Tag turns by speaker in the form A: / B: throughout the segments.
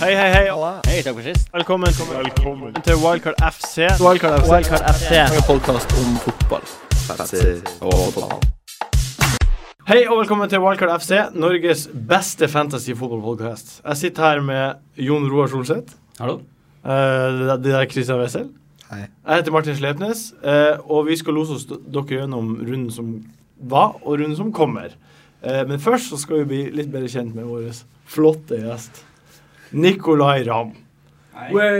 A: Hei, hei, hei.
B: Hei, takk for sist.
A: Velkommen, til Wildcard FC.
C: Wildcard FC.
B: Wildcard FC.
C: En podkast om fotball.
A: Hei og velkommen til Wildcard FC, Norges beste fantasy-fotballpodkast. Jeg sitter her med Jon Roar Solseth.
B: Hallo.
A: Eh, det- det er Christian Wessel.
C: Hei.
A: Jeg heter Martin Slepnes, eh, og vi skal lose oss d- dere gjennom runden som var, og runden som kommer. Eh, men først så skal vi bli litt bedre kjent med vår flotte gjest, Nicolay Ramm. Du
D: eh,
A: er,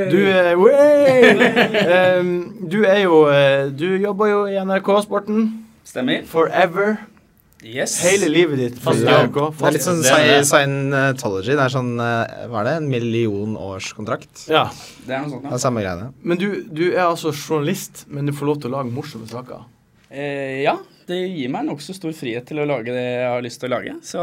A: Wey! Em, du er jo eh, Du jobber jo i NRK Sporten
D: Stemmer.
A: forever.
D: Yes.
A: Hele livet ditt.
B: Fast
A: i
B: jobb.
A: NRK,
C: Det er
A: fast-
C: litt sånn
B: Det er det.
C: sci- Scientology. Det er sånn eh, Hva er det? En millionårskontrakt?
A: Ja.
D: Det er noe sånt
C: Det
D: nå.
C: er samme greiene.
A: Men du, du er altså journalist, men du får lov til å lage morsomme saker.
D: Eh, ja, det gir meg nokså stor frihet til å lage det jeg har lyst til å lage. Så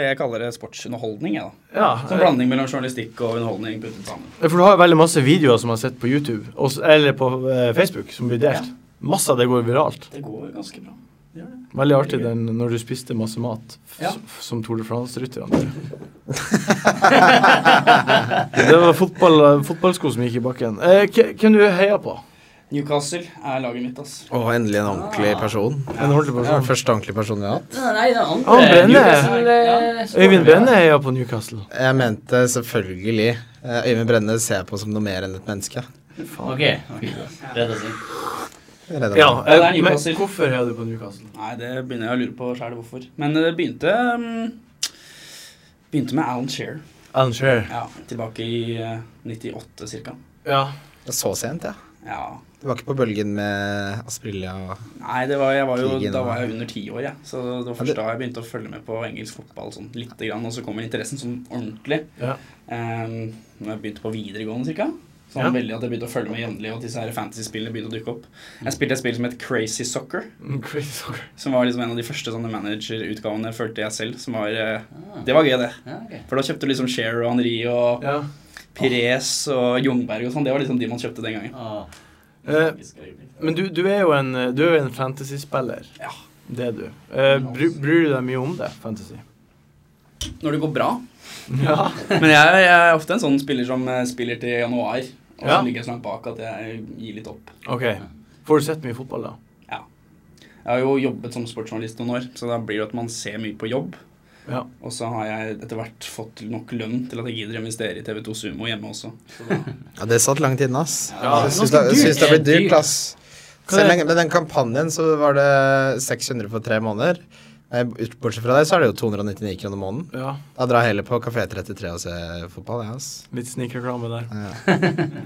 D: jeg kaller det sportsunderholdning, jeg, da.
A: Ja,
D: Som
A: eh,
D: blanding mellom journalistikk og underholdning puttet sammen.
A: For du har jo veldig masse videoer som jeg har sett på YouTube, og s- eller på eh, Facebook, som blir delt.
D: Ja.
A: Masse av det går viralt.
D: Det går ganske bra. Det gjør det.
A: Veldig artig den når du spiste masse mat, f
D: Ja.
A: f- som Tour de France-rytterne. det var fotball, fotballsko som gikk i bakken. Eh, hva- hvem du heier på?
D: Newcastle er laget mitt, ass.
C: Å, endelig en ordentlig person.
A: En ordentlig
C: Det er
A: person.
C: den første ordentlige personen vi har hatt.
E: Nei, det er andre.
A: Han Brenne.
E: Newcastle, eh, så-
A: Øyvind Brenne heier på Newcastle.
C: Jeg mente selvfølgelig eh, Øyvind Brenne ser jeg på som noe mer enn et menneske.
B: Ok. Rett og slett.
C: Jeg redder meg.
A: Ja,
D: Ja, det er
A: eh, men
D: Newcastle.
A: hvorfor heier du på Newcastle?
D: Nei, det begynner jeg å lure på sjæl hvorfor. Men det begynte mm, Begynte med Alan Shearer.
A: Alan Shearer.
D: Ja, tilbake i eh, 98 ca.
A: Ja.
C: Det er så sent, ja.
D: Ja.
C: Du var ikke på bølgen med Asprilla og
D: Nei, det var, jeg var jo,
C: Krigen
D: da
C: og-
D: var jeg under ti år, jeg. Så det var
C: Ja, det-
D: først da jeg begynte å følge med på engelsk fotball sånn lite grann. Og så kommer interessen sånn ordentlig.
A: Ja.
D: Um, når jeg begynte på videregående ca. Sånn
A: Ja.
D: veldig at jeg begynte å følge med jevnlig, og at disse her fantasy-spillene begynte å dukke opp. Jeg spilte et spill som het Crazy Soccer.
A: Mm, Crazy soccer.
D: Som var liksom en av de første sånne managerutgavene følte jeg selv. Som var, eh,
E: Ah.
D: det var gøy, det.
E: Ja, ok.
D: For da kjøpte du liksom Cher og Henri og
A: Ja.
D: Pires og Jungberg og sånn. Det var liksom de man kjøpte den gangen.
E: Ah,
A: Eh,
E: vi skal øyeblikk.
A: men du, du er jo en, eh, du er jo en fantasy-spiller.
D: Ja.
A: Det er du. Eh, bry, bryr du deg mye om det, fantasy?
D: Når det går bra.
A: Ja.
D: Men jeg, jeg er ofte en sånn spiller som eh, spiller til januar. Og så
A: Ja.
D: ligger jeg så langt bak at jeg gir litt opp.
A: OK. Får du sett mye fotball, da?
D: Jeg har jo jobbet som sportsjournalist noen år, så da blir det at man ser mye på jobb.
A: Ja.
D: Og så har jeg etter hvert fått nok lønn til at jeg gidder å investere i TV2 Sumo hjemme også. Så da
C: Ja, det satt langt inne, ass.
A: Ja,
C: jeg
A: ganske
C: syns det, jeg syns det har blitt
B: dyrt.
C: dyrt, ass.
A: Hva
C: Selv
A: er-
C: med den kampanjen så var det 600 for tre måneder. Nei, ut- Bortsett fra det, så er det jo 299 kroner måneden.
A: ja.
C: Da drar jeg heller på Kafé 33 og ser fotball, jeg, ass.
A: Litt snikreklame der.
C: Ja.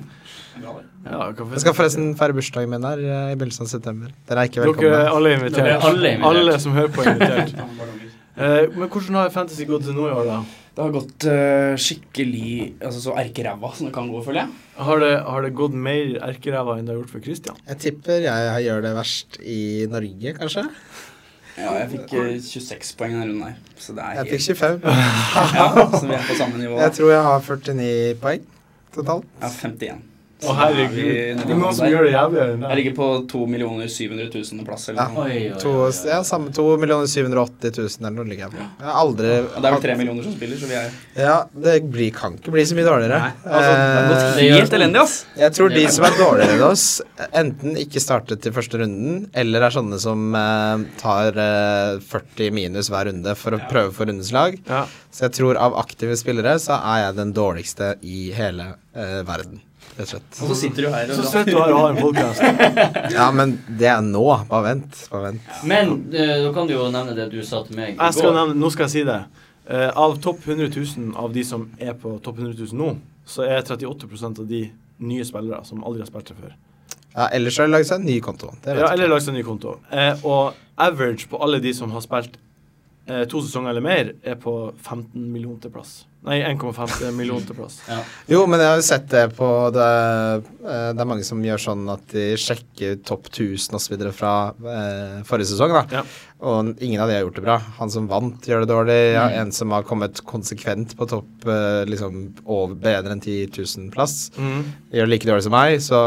A: Ja, hva for-
C: Jeg skal forresten feire bursdagen min her eh, i begynnelsen av september. Dere er ikke
A: Dere er
C: velkomne.
A: alle
B: Dere
A: invitert.
B: er alle invitert.
A: Alle som hører på, er invitert.
D: tar man ballonger.
A: Eh, men hvordan har fantasy gått til nå i år, da?
D: Det har gått eh, skikkelig altså så erkeræva som det kan gå, føler jeg.
A: Har det, har det gått mer erkeræva enn det har gjort for Christian?
C: Jeg tipper jeg gjør det verst i Norge, kanskje.
D: Ja, jeg fikk eh, 26 poeng denne runden her, så det er helt
C: Jeg fikk 25.
D: ja, Så vi er på samme nivå.
C: Jeg tror jeg har 49 poeng totalt.
D: Jeg har 51.
A: Å, herregud.
D: Ja,
A: Det
D: vi-
A: er noen som gjør det jævligere enn
D: Jeg
A: deg.
D: ligger på 2 700 000 plass eller noe.
B: Oi, oi,
C: To,
B: oi, oi.
C: ja, samme 2 780 000 eller noe ligger jeg på. Jeg har aldri
D: Og det er vel 3 millioner som spiller, så vi er
C: Ja, det blir, kan ikke bli så mye dårligere.
D: Nei, altså,
C: Eh,
B: Det gjør
D: helt elendig, ass.
C: jeg tror de som er dårligere enn oss, enten ikke startet til første runden, eller er sånne som eh, tar eh, 40 minus hver runde for å prøve for rundens lag.
A: Ja.
C: Så jeg tror av aktive spillere så er jeg den dårligste i hele eh, verden, rett og slett.
D: Og så sitter du her og
A: Så søtt du har å ha en podcast
C: Ja, men det er nå. Bare vent. Bare vent.
B: Men eh, nå kan du jo nevne det du sa til meg i
A: Jeg skal
B: går.
A: nevne, nå skal jeg si det. Eh, av topp 100 000 av de som er på topp 100 000 nå, så er 38 av de nye spillere som aldri har spilt det før.
C: Ja, ellers har de laget seg en ny konto. Det
A: Ja,
C: vet jeg.
A: eller lagt seg en ny konto. Eh, og average på alle de som har spilt eh, to sesonger eller mer, er på 15 millionte plass. Nei, 1,5 millionte plass.
C: Jo, men jeg har jo sett det på Det, eh, det er mange som gjør sånn at de sjekker topp 1000 osv. fra eh, forrige sesong, da.
A: Ja.
C: Og ingen av de har gjort det bra. Han som vant, gjør det dårlig. Ja, en som har kommet konsekvent på topp eh, liksom over, bedre enn 10 000 plass,
A: Mm.
C: gjør det like dårlig som meg. Så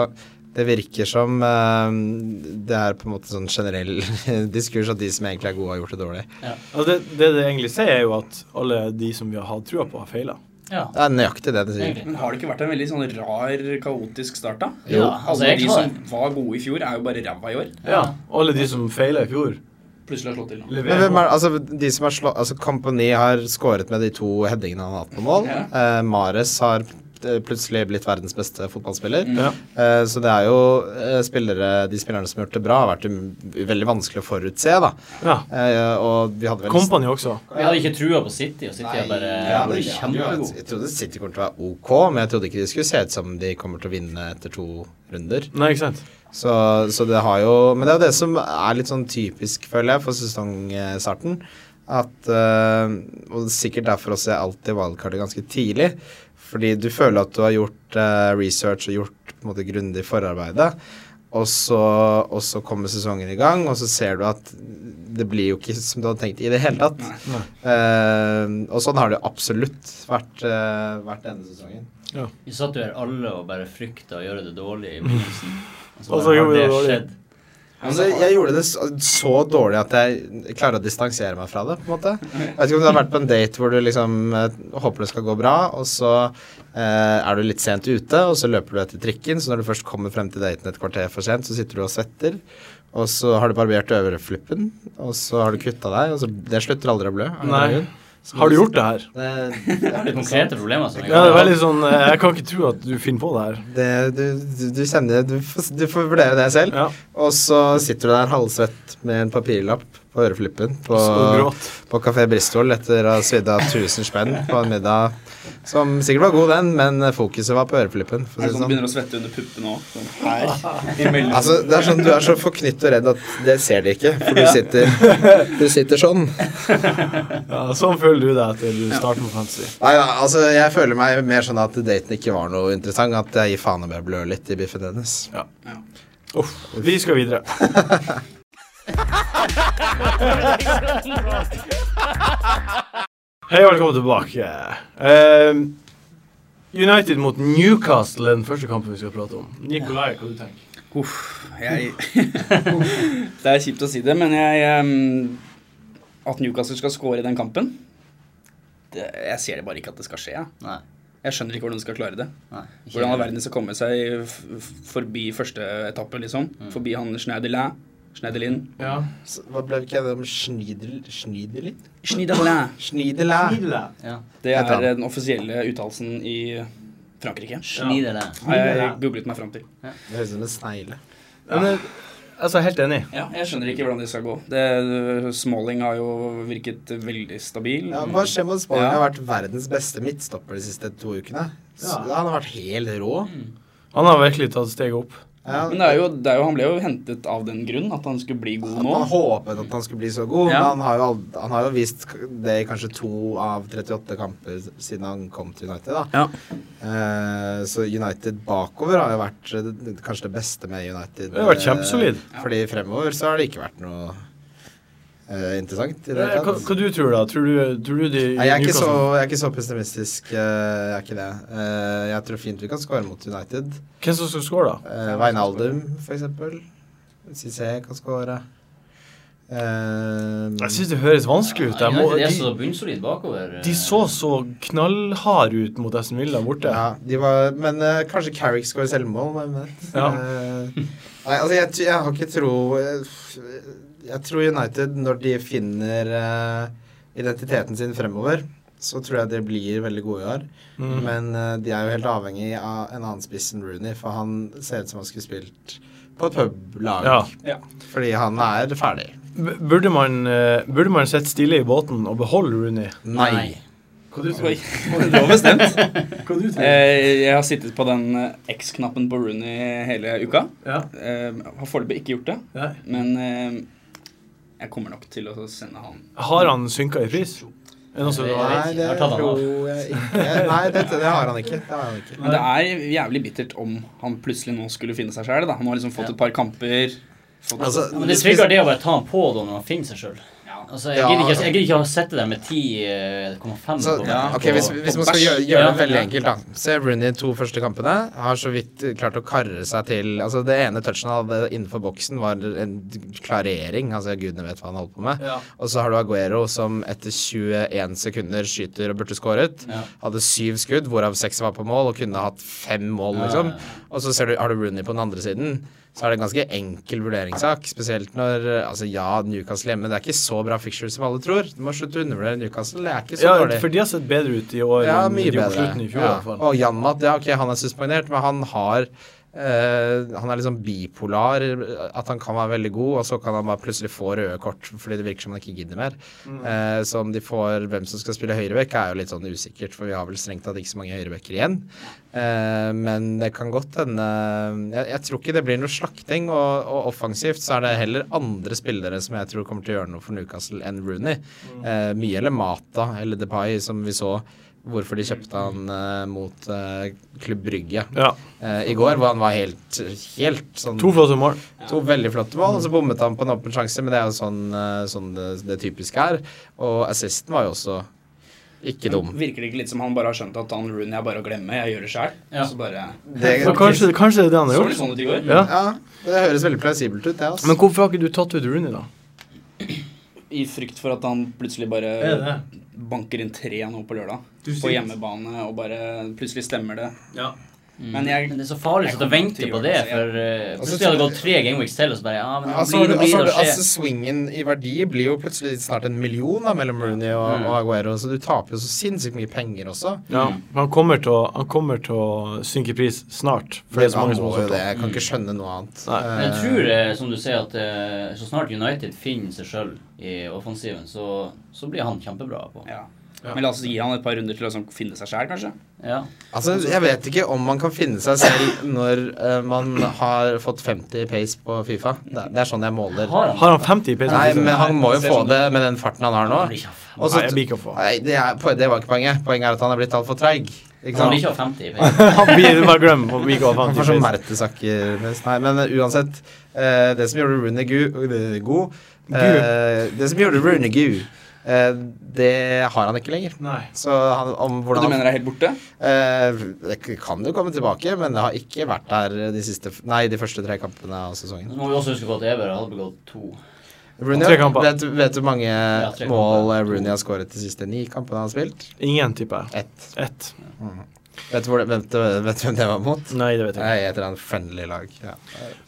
C: det virker som eh, det er på en måte sånn generell diskurs at de som egentlig er gode, har gjort det dårlig.
A: Altså det, det det egentlig sier, er jo at alle de som vi har hatt trua på, har feila.
B: Ja.
C: Det er nøyaktig det du sier.
B: Egentlig.
D: Men har det ikke vært en veldig sånn rar, kaotisk start, da?
B: Jo. Ja, altså,
D: Alle
B: jeg
D: de
B: tar
D: som var gode i fjor, er jo bare ræva i år.
A: Ja. Alle de som feila i fjor,
D: Plutselig har slått til nå.
C: Men
A: leverer.
C: hvem er, altså, de som har slå, altså, Kompani har skåret med de to headingene han har hatt på mål. Eh, Mares har eh, plutselig blitt verdens beste fotballspiller.
A: Ja.
C: Eh, så det er jo eh, spillere, de spillerne som har gjort det bra, har vært um, veldig vanskelig å forutse, da.
A: ja.
C: Eh, og vi hadde vel
A: Company også.
B: Vi hadde ikke trua på City, og City er bare
C: Ja,
B: bare
C: men-
B: kjempegod.
C: Jeg trodde City kommer til å være ok, men jeg trodde ikke de skulle se ut som de kommer til å vinne etter to runder.
A: Nei, ikke sant?
C: Så, så det har jo Men det er jo det som er litt sånn typisk, føler jeg, for sesongstarten. At eh, Og sikkert derfor også jeg alltid wildcarder ganske tidlig. Fordi du føler at du har gjort eh, research og gjort på en måte grundig forarbeide. Og så, og så kommer sesongen i gang, og så ser du at det blir jo ikke som du hadde tenkt i det hele tatt.
A: Nei.
C: Eh, og sånn har det absolutt vært, eh, vært denne sesongen.
B: Vi satt jo her alle og bare frykta å gjøre det dårlig i begynnelsen.
A: Og så
B: bare
A: gjorde vi det
B: har
A: dårlig.
B: skjedd.
C: Altså, jeg gjorde det så, så dårlig at jeg klarer å distansere meg fra det, på en måte. Jeg vet ikke om du har vært på en date hvor du liksom eh, håper det skal gå bra, og så eh, er du litt sent ute, og så løper du etter trikken, så når du først kommer frem til daten et kvarter for sent, så sitter du og svetter, og så har du barbert øvreflippen, og så har du kutta deg, og så Det slutter aldri å blø. av en
A: Nei.
C: eller annen grunn. Så
A: Har du gjort det her?
C: Det,
B: Det er konkrete problemer som
A: Ja, det er veldig sånn eh, Jeg kan ikke tro at du finner på det her.
C: det, du, du, du sender du, får- du får vurdere det selv.
A: Ja.
C: Og så sitter du der halvsvett med en papirlapp på øreflippen. På,
A: Så gråt.
C: på Café Bristol etter å ha svidd av 1000 spenn på en middag som sikkert var god, den, men fokuset var på øreflippen. For
D: Er
C: å
D: det sånn du
C: si det, sånn.
D: begynner å svette under puppene òg? Sånn her. I mellom.
C: Altså, det er sånn Du er så forknytt og redd at det ser de ikke, for du sitter, du sitter sånn.
A: Ja, sånn føler du deg etter du starter med fantasy.
C: Nei da, altså, jeg føler meg mer sånn at daten ikke var noe interessant, at jeg gir faen om jeg blør litt i biffen hennes.
A: Vi skal videre. Hei og velkommen tilbake. Ehm, United mot Newcastle er den første kampen vi skal prate om. Nikolai, hva du tenker
D: Uff, jeg Det er kjipt å si det, men jeg em, At Newcastle skal score i den kampen det, Jeg ser det bare ikke at det skal skje. Jeg,
B: Nei.
D: jeg skjønner ikke hvordan de skal klare det.
B: Nei. ikke-
D: Hvordan all verden skal komme seg f f- forbi første etappe, liksom. Forbi han Schneiderlin. Schneiderlin.
A: Ja.
C: Så, hva ble vi ikke enige om? Schniedel, Schniedelin?
D: Schneiderlin.
C: Schniedelin.
B: Ja.
D: Det
C: Heter han.
D: er den offisielle uttalelsen i Frankrike.
B: Snider deg.
D: Har jeg googlet meg fram til.
C: Det høres ut som en snegle.
A: Men, eh, altså, helt enig.
D: Ja, jeg skjønner ikke hvordan det skal gå. Det, Smalling har jo virket veldig stabil.
C: Ja, hva skjer med at Spanien?
D: Ja.
C: Har vært verdens beste midtstopper de siste to ukene. Så,
A: Ja.
C: Han har vært helt rå.
A: Han har virkelig tatt steget opp.
C: Ja,
D: Mm. Men det er, jo, det er jo, han ble jo hentet av den grunn, at han skulle bli god nå.
C: man håpet at han skulle bli så god,
D: Ja.
C: men han har, jo, ald- han har jo vist det i kanskje to av 38 kamper siden han kom til United. da.
D: Ja.
C: Eh, så United bakover har jo vært eh, det- kanskje det beste med United.
A: Det har vært
C: eh,
A: kjempesolid.
C: Fordi fremover så har det ikke vært noe eh, interessant. i det
A: Eh,
C: hele
A: Hva,
C: tatt.
A: hva du tror du, da? Tror du, tror du de
C: Nei, jeg er, ikke så,
A: Newcastle-
C: jeg er ikke så pessimistisk. eh, Jeg er ikke det. Eh, Jeg tror fint vi kan skåre mot United.
A: Hvem som skal score, da?
C: Eh, Wijnaldum, for eksempel. Cissé kan skåre. Eh,
A: Jeg syns det høres vanskelig ut.
B: Ja,
A: Jeg må,
B: United er så
A: de,
B: bunnsolid bakover. eh.
A: de så så knallharde ut mot Aston Villa borte.
C: ja, de var, men eh, kanskje Carrick skårer selvmål, hvem vet.
A: Ja.
C: Eh, nei, altså, jeg, t- jeg har ikke tro jeg, jeg tror United, når de finner eh, identiteten sin fremover, så tror jeg de blir veldig gode i år.
A: Mm.
C: Men eh, de er jo helt avhengig av en annen spiss enn Rooney, for han ser ut som han skulle spilt på et publag.
A: Ja.
D: Ja.
C: Fordi han er ferdig.
A: B- Burde man, eh, burde man sette stille i båten og beholde Rooney?
C: Nei.
D: Oi, det var bestemt. Eh, Jeg har sittet på den eh, X-knappen på Rooney hele uka.
A: Ja.
D: Eh, Har foreløpig ikke gjort det, men eh, jeg kommer nok til å sende han.
A: Har han synka i pris? Er det noe som-
B: Jeg
C: Nei,
B: vet ikke.
C: det
B: Jeg har tatt han
C: tror
B: av.
C: jeg ikke. Nei, det, det har han ikke. Det har han ikke.
D: Men det er jævlig bittert om han plutselig nå skulle finne seg sjæl. Han har liksom fått et par kamper. Fått
C: Altså,
B: Ja, men det trygger det å bare ta han på da når han finner seg sjøl.
D: ja,
B: Altså, jeg
C: Ja.
B: gidder ikke, jeg gidder ikke å sette dem med 10,5
C: Så,
B: på
D: Ja,
B: meg.
C: ok, hvis, hvis man skal gjøre,
D: bæsj.
C: gjøre det
B: Ja,
C: veldig
B: ja.
C: enkelt, da. Se Rooney de to første kampene. Har så vidt eh, klart å karre seg til Altså, det ene touchen han hadde innenfor boksen, var en klarering. Altså, gudene vet hva han holdt på med.
A: Ja.
C: Og så har du Aguero, som etter 21 sekunder skyter og burde skåret.
B: Ja.
C: Hadde syv skudd, hvorav seks var på mål, og kunne hatt fem mål,
B: Ja,
C: liksom.
B: ja,
C: Og så ser du, har du Rooney på den andre siden. Så er det en ganske enkel vurderingssak. Spesielt når eh, Altså, ja, Newcastle hjemme, det er ikke så bra fixture som alle tror. Du må slutte å undervurdere Newcastle. Det er ikke så
A: Ja,
C: dårlig.
A: for de har sett bedre ut i år
C: Ja,
A: enn
C: mye
A: de gjorde på
C: bedre.
A: slutten i fjor. i
C: ja.
A: hvert fall.
C: Og Janmat, ja, ok, han er suspendert, men han har eh, han er liksom bipolar. At han kan være veldig god, og så kan han bare plutselig få røde kort fordi det virker som han ikke gidder mer.
A: Mm.
C: Eh, så om de får hvem som skal spille høyreback, er jo litt sånn usikkert, for vi har vel strengt tatt ikke så mange høyrebacker igjen. Eh, men det kan godt hende jeg, jeg tror ikke det blir noe slakting, og, og offensivt så er det heller andre spillere som jeg tror kommer til å gjøre noe for Newcastle enn Rooney.
A: Mm.
C: Eh, mye eller Mata eller Depay, som vi så hvorfor de kjøpte han eh, mot eh, Klubb Brygge
A: Ja.
C: eh, i går, hvor han var helt, helt sånn
A: To flotte mål.
C: To veldig flotte mål, og så bommet han på en åpen sjanse, men det er jo sånn, eh, sånn det, det typiske er. Og assisten var jo også ikke dum.
D: Virker det ikke litt som han bare har skjønt at han Rooney er bare å glemme, jeg gjør det sjøl?
B: Ja.
D: Så bare
A: Så kanskje, kanskje det er det han har
D: Så det
A: gjort.
D: sånn ut i går?
A: Ja.
C: Ja, det høres veldig plausibelt ut, det, altså.
A: Men hvorfor har ikke du tatt ut Rooney, da?
D: I frykt for at han plutselig bare banker inn tre nå på lørdag. På hjemmebane, og bare plutselig stemmer det.
B: Mm.
D: Men jeg-
B: det er så farlig
D: jeg
B: å
D: kommer
B: vente
D: til å
B: på
D: gjøre
B: det,
D: det, så jeg-
B: for eh,
C: Altså,
B: plutselig har det gått tre gameweeks til, og så bare Ja, men
C: Altså,
B: blir det,
C: altså,
B: blir det,
C: altså,
B: skjer.
C: Swingen i verdi blir jo plutselig snart en million da, mellom Rooney og,
B: Mm.
C: og Aguero, så du taper jo så sinnssykt mye penger også.
A: Ja, for han kommer til å, han kommer til å synke i pris snart. For det er så
C: Han
A: mange som
C: må
A: har
C: jo
A: solgt
C: det,
A: ham.
C: jeg kan ikke skjønne noe annet.
A: Nei.
B: Men jeg tror, eh, som du sier, at eh, så snart United finner seg sjøl i offensiven, så, så blir han kjempebra på.
D: Ja. Men la oss gi han et par runder til å liksom finne seg sjæl, kanskje.
B: Ja.
C: Altså, Jeg vet ikke om man kan finne seg selv når eh, man har fått 50 pace på Fifa. Det, det er sånn jeg måler.
B: Har han?
A: Har han 50 i PC?
C: Nei, men han må jo
D: Ser
C: få
D: sånn
C: det med den farten han har nå.
B: Han blir ikke av fem-
C: Og så-
A: Nei, jeg blir ikke å få.
C: Nei, det, er, po- det var ikke poenget. Poenget er at han er blitt altfor treig. Ikke
B: han blir
C: sant?
B: ikke av 50 i peisen.
A: Han blir bare glem å bli ikke å ha 50
C: Han får
A: i
C: sånn
A: pace.
C: mertesakker mest. Nei, men eh, uansett. eh, det som gjorde Rooney gu- god eh, Det som gjorde Rooney god, eh, det har han ikke lenger.
A: Nei.
C: Så han, om
D: Og du
C: hvordan han
D: mener det er helt borte?
C: Eh, Det k- kan jo komme tilbake, men det har ikke vært der de, siste, f- nei, de første tre kampene av sesongen.
B: Så må vi også huske på at Eber hadde begått to.
C: Rooney,
A: Tre kamper.
C: vet, vet du hvor mange
B: tre kamper.
C: mål eh, Rooney har skåret de siste ni kampene han har spilt?
A: Ingen, tipper jeg.
C: Ett.
A: Ett.
C: Vet du hvor det, hvem, det- vet du hvem det var mot?
A: Nei, det vet jeg ikke.
C: Nei, et eller annet friendly lag. Ja.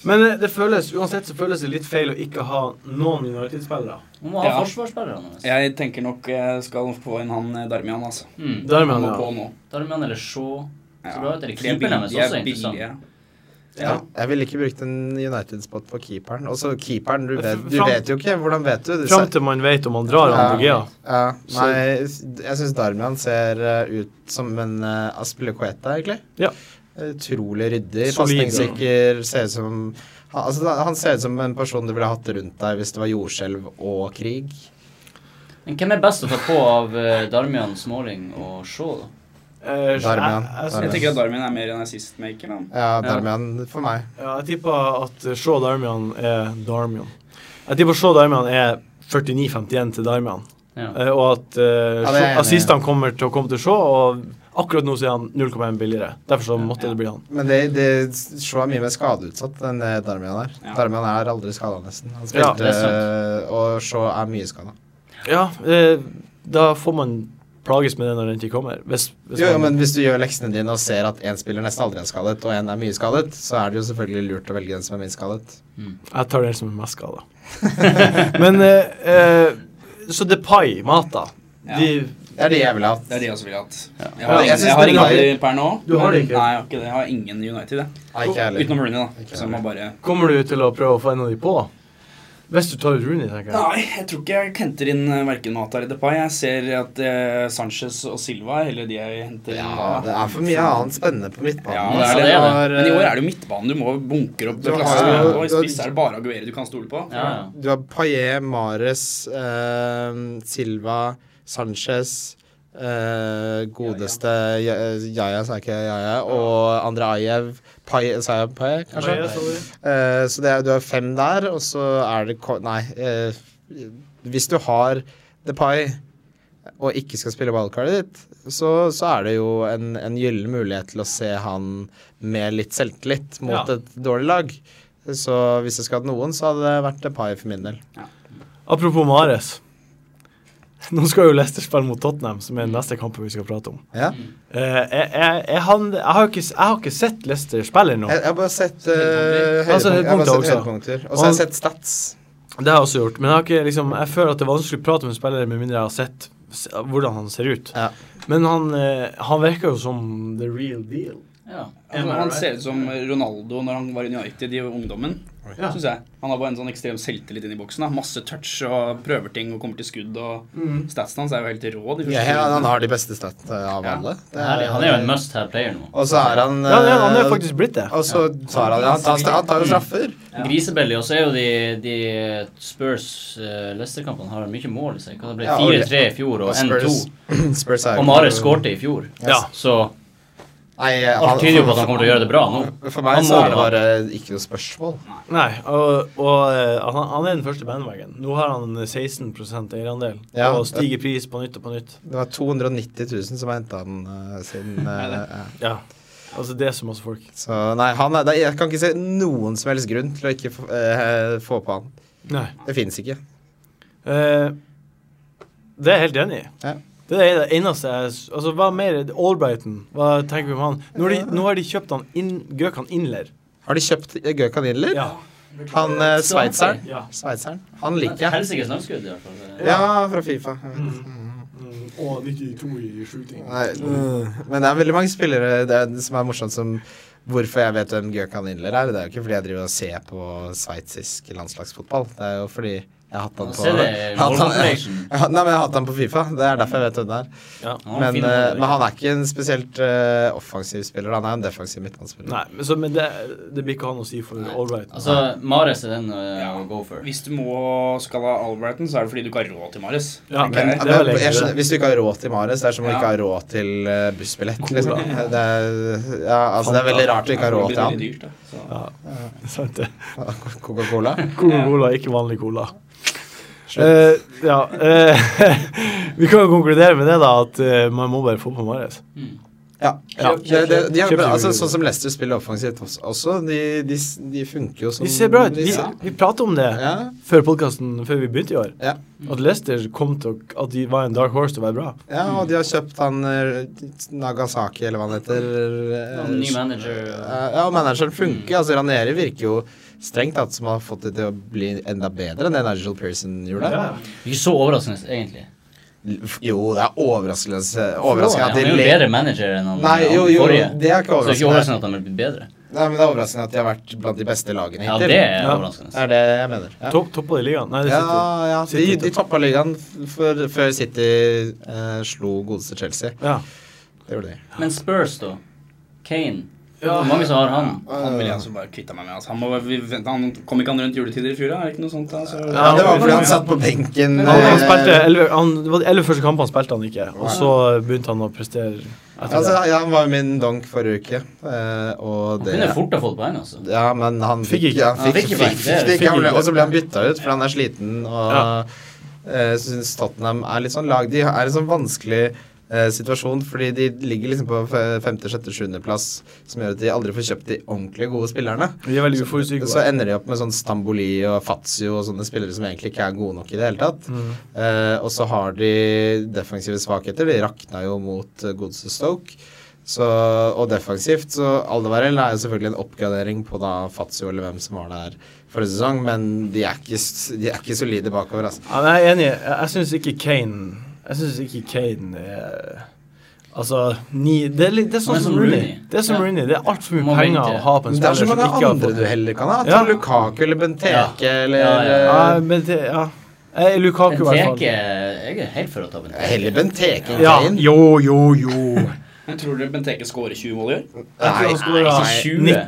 A: Men eh, det føles, uansett så føles det litt feil å ikke ha noen United-spillere.
B: Man må ha
D: Ja.
B: forsvarsspillerne. altså.
D: Jeg tenker nok jeg skal få inn han eh, Darmian, altså.
B: Mm.
A: Dermed,
D: Han må
A: ja.
D: på nå.
B: Darmian eller Shaw. Så
D: Ja.
B: du har jo et
D: De er
B: keeper
D: billige-
B: deres også,
D: de er
B: interessant.
D: billige.
C: Ja. Jeg ville ikke brukt en United-spot på keeperen. Og så keeperen, du vet, du
A: Fram-
C: vet jo ikke. Hvordan vet du? Du
A: Fram
C: ser-
A: til man vet om han drar han på Gea.
C: ja, nei, jeg syns Darmian ser eh, ut som en uh, Aspilicueta, egentlig.
A: Ja.
C: Utrolig ryddig,
A: Solid,
C: pasningssikker, ser ut som han, altså, da- han ser ut som en person du ville hatt rundt deg hvis det var jordskjelv og krig.
B: Men hvem er best å ta på av eh, Darmian, Småling og Shaw, da?
A: Eh, så
C: Darmian.
A: jeg- jeg-
D: Jeg
C: Darmian.
D: tenker at Darmian er mer en assistmaker. da.
C: Ja, Darmian for meg.
A: Ja, jeg tipper at eh, Shaw Darmian er Darmian. Jeg tipper Shaw Darmian er 49-51 til Darmian.
B: Ja.
A: Eh, og at eh,
C: Ja, det er jeg enig i.
A: assistene kommer til å komme til Shaw, og akkurat nå så er han 0,1 billigere. Derfor så måtte det bli han.
C: Men det, det Shaw er mye mer skadeutsatt enn det Darmian er.
D: Ja.
C: Darmian er aldri skada, nesten. Han
A: Ja,
C: spilte, eh,
B: det er
C: og Shaw er mye skada.
A: Ja, eh, da får man plages med det når den tid kommer. Hvis, hvis
C: Jo, jo,
A: man,
C: men hvis du gjør leksene dine og ser at én spiller nesten aldri er skadet, og én er mye skadet, så er det jo selvfølgelig lurt å velge den som er minst skadet.
A: Jeg tar den som er mest skada. men eh, eh, Så Depay, Mata
D: Ja.
A: de,
C: Det er det jeg ville hatt.
D: Det er det jeg også ville hatt. Jeg
C: Ja,
D: har,
C: jeg
D: ingen,
C: synes
D: jeg har
C: det
D: ingen
C: var-
D: United per nå.
A: Du har det ikke?
D: Nei, jeg har ikke det. Jeg har ingen United, jeg.
C: Nei, ikke jeg heller.
D: Utenom Rooney, da.
C: Ikke
D: Som
C: heller.
D: man bare
A: Kommer du til å prøve å få en av de på? Hvis du tar ut Rooney, tenker jeg.
D: Nei, jeg tror ikke jeg henter inn eh, verken Matar eller Depay. Jeg ser at eh, Sanchez og Silva er heller de jeg henter inn.
C: Ja,
D: da.
C: det er for mye annet spennende på midtbanen.
D: Ja, det er
C: altså.
D: det.
C: har,
D: Men i år
C: eh,
D: er det jo midtbanen. Du må bunkre opp
C: Du har-
D: klassen. Og i
C: du har-
D: spiss er det bare Aguero du kan stole på.
B: Ja, ja.
C: Altså, Du har Paillet, Mares, eh, Silva, Sanchez eh, Godeste eh, Jaja, sa jeg ikke Jaja, og Andreajev Paillet, sa jeg Paillet, kanskje?
A: Nei, jeg så det.
C: Eh, så det er, du har fem der, og så er det ko- Nei. eh, Hvis du har Depay og ikke skal spille wildcardet ditt, så, så er det jo en, en gyllen mulighet til å se han med litt selvtillit mot
A: Ja.
C: et dårlig lag. Så hvis jeg skulle hatt noen, så hadde det vært Depay for min del.
A: Apropos Mares. Nå skal jo Leicester spille mot Tottenham, som er den neste kampen vi skal prate om.
C: Ja.
A: Eh, jeg, jeg, jeg, han, jeg, har jo ikke, jeg har ikke sett Leicester spille ennå.
C: Jeg, jeg har bare sett eh,
B: Høydepunkter.
C: høydepunkt-
A: Altså,
C: jeg har bare sett
A: høydepunkter
C: høydepunkter. Og så har jeg sett stats.
A: Det har jeg også gjort. Men jeg, har ikke, liksom, jeg føler at det er vanskelig å prate med en spiller med mindre jeg har sett s- hvordan han ser ut.
C: Ja.
A: Men han, eh, han virker jo som the real deal.
B: Ja.
D: Altså, han ser ut som Ronaldo når han var i United i ungdommen.
A: Ja.
D: Synes jeg. Han har bare en sånn ekstrem selvtillit inn i boksen. Da. Masse touch og prøver ting og kommer til skudd. Og Statsen hans er jo helt rå. De første
C: Ja, han- han
D: rundene.
C: har de beste stat eh, av
D: Ja.
C: alle. Det
B: Herlig, Han
C: Eh,
B: er jo en must have player nå.
C: Og så er han
A: Ja, han er- han er
C: eh,
A: faktisk blitt det.
C: Og så tar han Han tar, han tar jo straffer.
B: Grisebelly, og så er jo de, de Spurs-Leicester-kampene har mye mål i seg. Hva det ble
C: Ja, og-
B: 4-3 i fjor og 1-2.
C: Spurs, Spurs er jo-
B: Og Mares skårte i fjor.
A: Ja.
B: Så
C: Nei, han-
B: alt tyder jo på at han kommer til å gjøre det bra nå.
C: For meg
B: Han
C: så
B: må
C: er det
B: det,
C: bare ikke noe spørsmål.
A: Nei, og, og eh, han, han er den første bandwagen. Nå har han 16 eierandel
C: Ja.
A: og stiger pris på nytt og på nytt.
C: Det var 290 000 som har henta han eh, siden eh, ja.
A: Ja. Altså, det er så masse folk.
C: Så nei, han er, det- jeg kan ikke se noen som helst grunn til å ikke få, eh, få på han.
A: Nei.
C: Det fins ikke.
A: Eh, det er jeg helt enig i.
C: Ja.
A: Det er det eneste jeg s- Altså, hva mer Albrighton, hva tenker vi om han? Nå har de, nå har de kjøpt han inn, Gøkan Inler.
C: Har de kjøpt eh, Gøkan Inler?
A: Ja.
C: Han eh, sveitseren.
A: Ja.
C: Sveitseren. Han liker jeg.
B: Helsikes langskudd, i hvert fall.
C: Ja, fra Fifa. Jeg vet.
A: Mm, Og 92 i shooting.
C: Nei, men det er veldig mange spillere det er, som er morsomt som Hvorfor jeg vet hvem Gøkan Inler er, det er jo ikke fordi jeg driver og ser på sveitsisk landslagsfotball. Det er jo fordi jeg har hatt han på
B: Se det,
C: hatt han-
B: målcompilation.
C: Ja, Nei, men jeg har hatt han på Fifa. Det er derfor jeg vet hvem det er.
B: Han
C: Men,
B: fin
C: eh,
B: mål,
C: men han er ikke en spesielt eh, offensiv spiller. Han er en defensiv midtbanespiller.
A: Nei, men, så, men det, det blir ikke han å si for Albrighton.
B: Altså, Mares er den eh,
D: Ja.
B: å go for.
D: Hvis du må skal ha Albrighton, så er det fordi du ikke har råd til Marius.
A: Ja, det
D: tenker
C: Men,
D: jeg.
A: er
C: men,
A: vel egentlig
C: jeg skjønner,
A: det.
C: hvis du ikke har råd til Mares, det er som om du
D: Ja.
C: ikke har råd til eh, bussbillett. Liksom. Det, er, ja, altså, det er veldig rart du ikke har råd
D: Det
C: til
D: blir
C: han.
D: veldig dyrt, da. Så.
A: Sant det.
C: Coca-Cola.
A: Coca-Cola, ikke vanlig cola. Eh, ja, eh, vi kan jo konkludere med det, da, at eh, man må bare få på Mares.
B: Mm.
C: Ja.
A: Ja.
C: Det, det, de har,
A: Kjøp- kjøp-
C: altså, sånn som Leicester spiller offensivt også- også, de, de, de funker jo som
A: De ser bra ut.
C: de
A: Vi,
C: ser-
A: vi prater om det
C: Ja.
A: før podkasten, før vi begynte i år.
C: Ja.
A: At Leicester kom til å At de var en dark horse til å være bra.
C: ja, og de har kjøpt han eh, Nagasaki, eller hva han heter. eh,
B: Ja, Ny manager.
C: Eh, Ja, og manageren funker. Altså, Ranere virker jo strengt tatt som har fått det til å bli enda bedre enn det Nigel Pearson gjorde.
B: Ikke så overraskende, egentlig.
C: Jo, det er overraskende, overraskende
B: Han
C: at de
B: er jo en
C: le-
B: bedre manager enn han
C: Nei,
B: han
C: jo, jo,
B: forrige.
C: det er ikke
B: Så det er ikke
C: overraskende.
B: overraskende at han er blitt bedre.
C: Nei, men det er overraskende at de har vært blant de beste lagene
B: Ja,
C: hittil.
B: det er
A: Ja.
B: overraskende.
C: er det jeg mener. Ja.
A: Topp, toppa i ligaen. Nei, det
C: Ja,
A: sitter
C: ja. De,
A: City
C: de toppa ligaen f- for, før City eh, slo godeste Chelsea.
A: ja.
C: Det gjorde de.
B: Men Spurs, da. Kane. Hvor mange som har han?
D: Han vil jeg altså bare kvitte meg med. Altså. Han, må, vi, vent- han kom ikke han rundt juletider i fjor, da? Er det ikke noe sånt? da? Så-
C: Ja, det var fordi han satt på benken.
A: Han, han
C: eh,
A: spilte 11, han, Det var de elleve første kampene han spilte han ikke, og så begynte han å prestere etter
C: Altså,
A: det.
C: ja, han var jo min donk forrige uke, eh, og det
B: Kunne fort ha fått poeng, altså.
C: Ja, men han
A: Fikk ikke.
C: ja, Han
B: Han
C: fikk,
B: fikk ikke
C: fikk,
B: poeng. Det er det.
C: fikk, han ble-
A: Fikk ikke.
C: og så ble han bytta ut fordi han er sliten og
A: Ja.
C: eh, syns Tottenham er litt sånn lag De er i en sånn vanskelig eh, situasjon fordi de ligger liksom på fe- femte, sjette, sjuende plass, som gjør at de aldri får kjøpt de ordentlig gode spillerne.
A: De er veldig
C: Liksom. Så
A: uforutsigbare.
C: ender de opp med sånn Stamboli og Fazio og sånne spillere som egentlig ikke er gode nok i det hele tatt.
A: Mm.
C: Eh, og så har de defensive svakheter. De rakna jo mot eh, godeste Stoke. Så, og defensivt, så Aldevarell er jo selvfølgelig en oppgradering på da Fazio eller hvem som var der forrige sesong, men de er ikke, s- de er ikke solide bakover, altså.
A: Ja, men jeg er enig. Jeg, jeg syns ikke Kane Jeg synes ikke Kane er Altså, ni, det, er litt, det er sånn
B: Han er
A: som
B: som
A: Rooney.
B: Rooney.
A: Det er som
B: Ja.
A: Rooney. Det er altfor mye
B: Må
A: penger
B: vente.
A: å ha på en
C: Men det
A: spiller
C: er så
A: som
C: mange
A: ikke har
C: andre
A: fått
C: du heller kan ha.
A: Ja.
C: Ta Lukaku eller Benteke eller
B: Ja, ja, ja.
A: Ja,
C: eh,
A: men det, ja. Jeg er Lukaku, i hvert
B: Benteke
A: fall.
B: Jeg er helt for å ta Benteke.
C: Heller Benteke enn
A: Ah, Ja.
C: Kane.
A: Jo, jo, jo.
D: Men Tror dere Benteke skårer 20 mål i år?
A: Jeg tror han skårer
B: ikke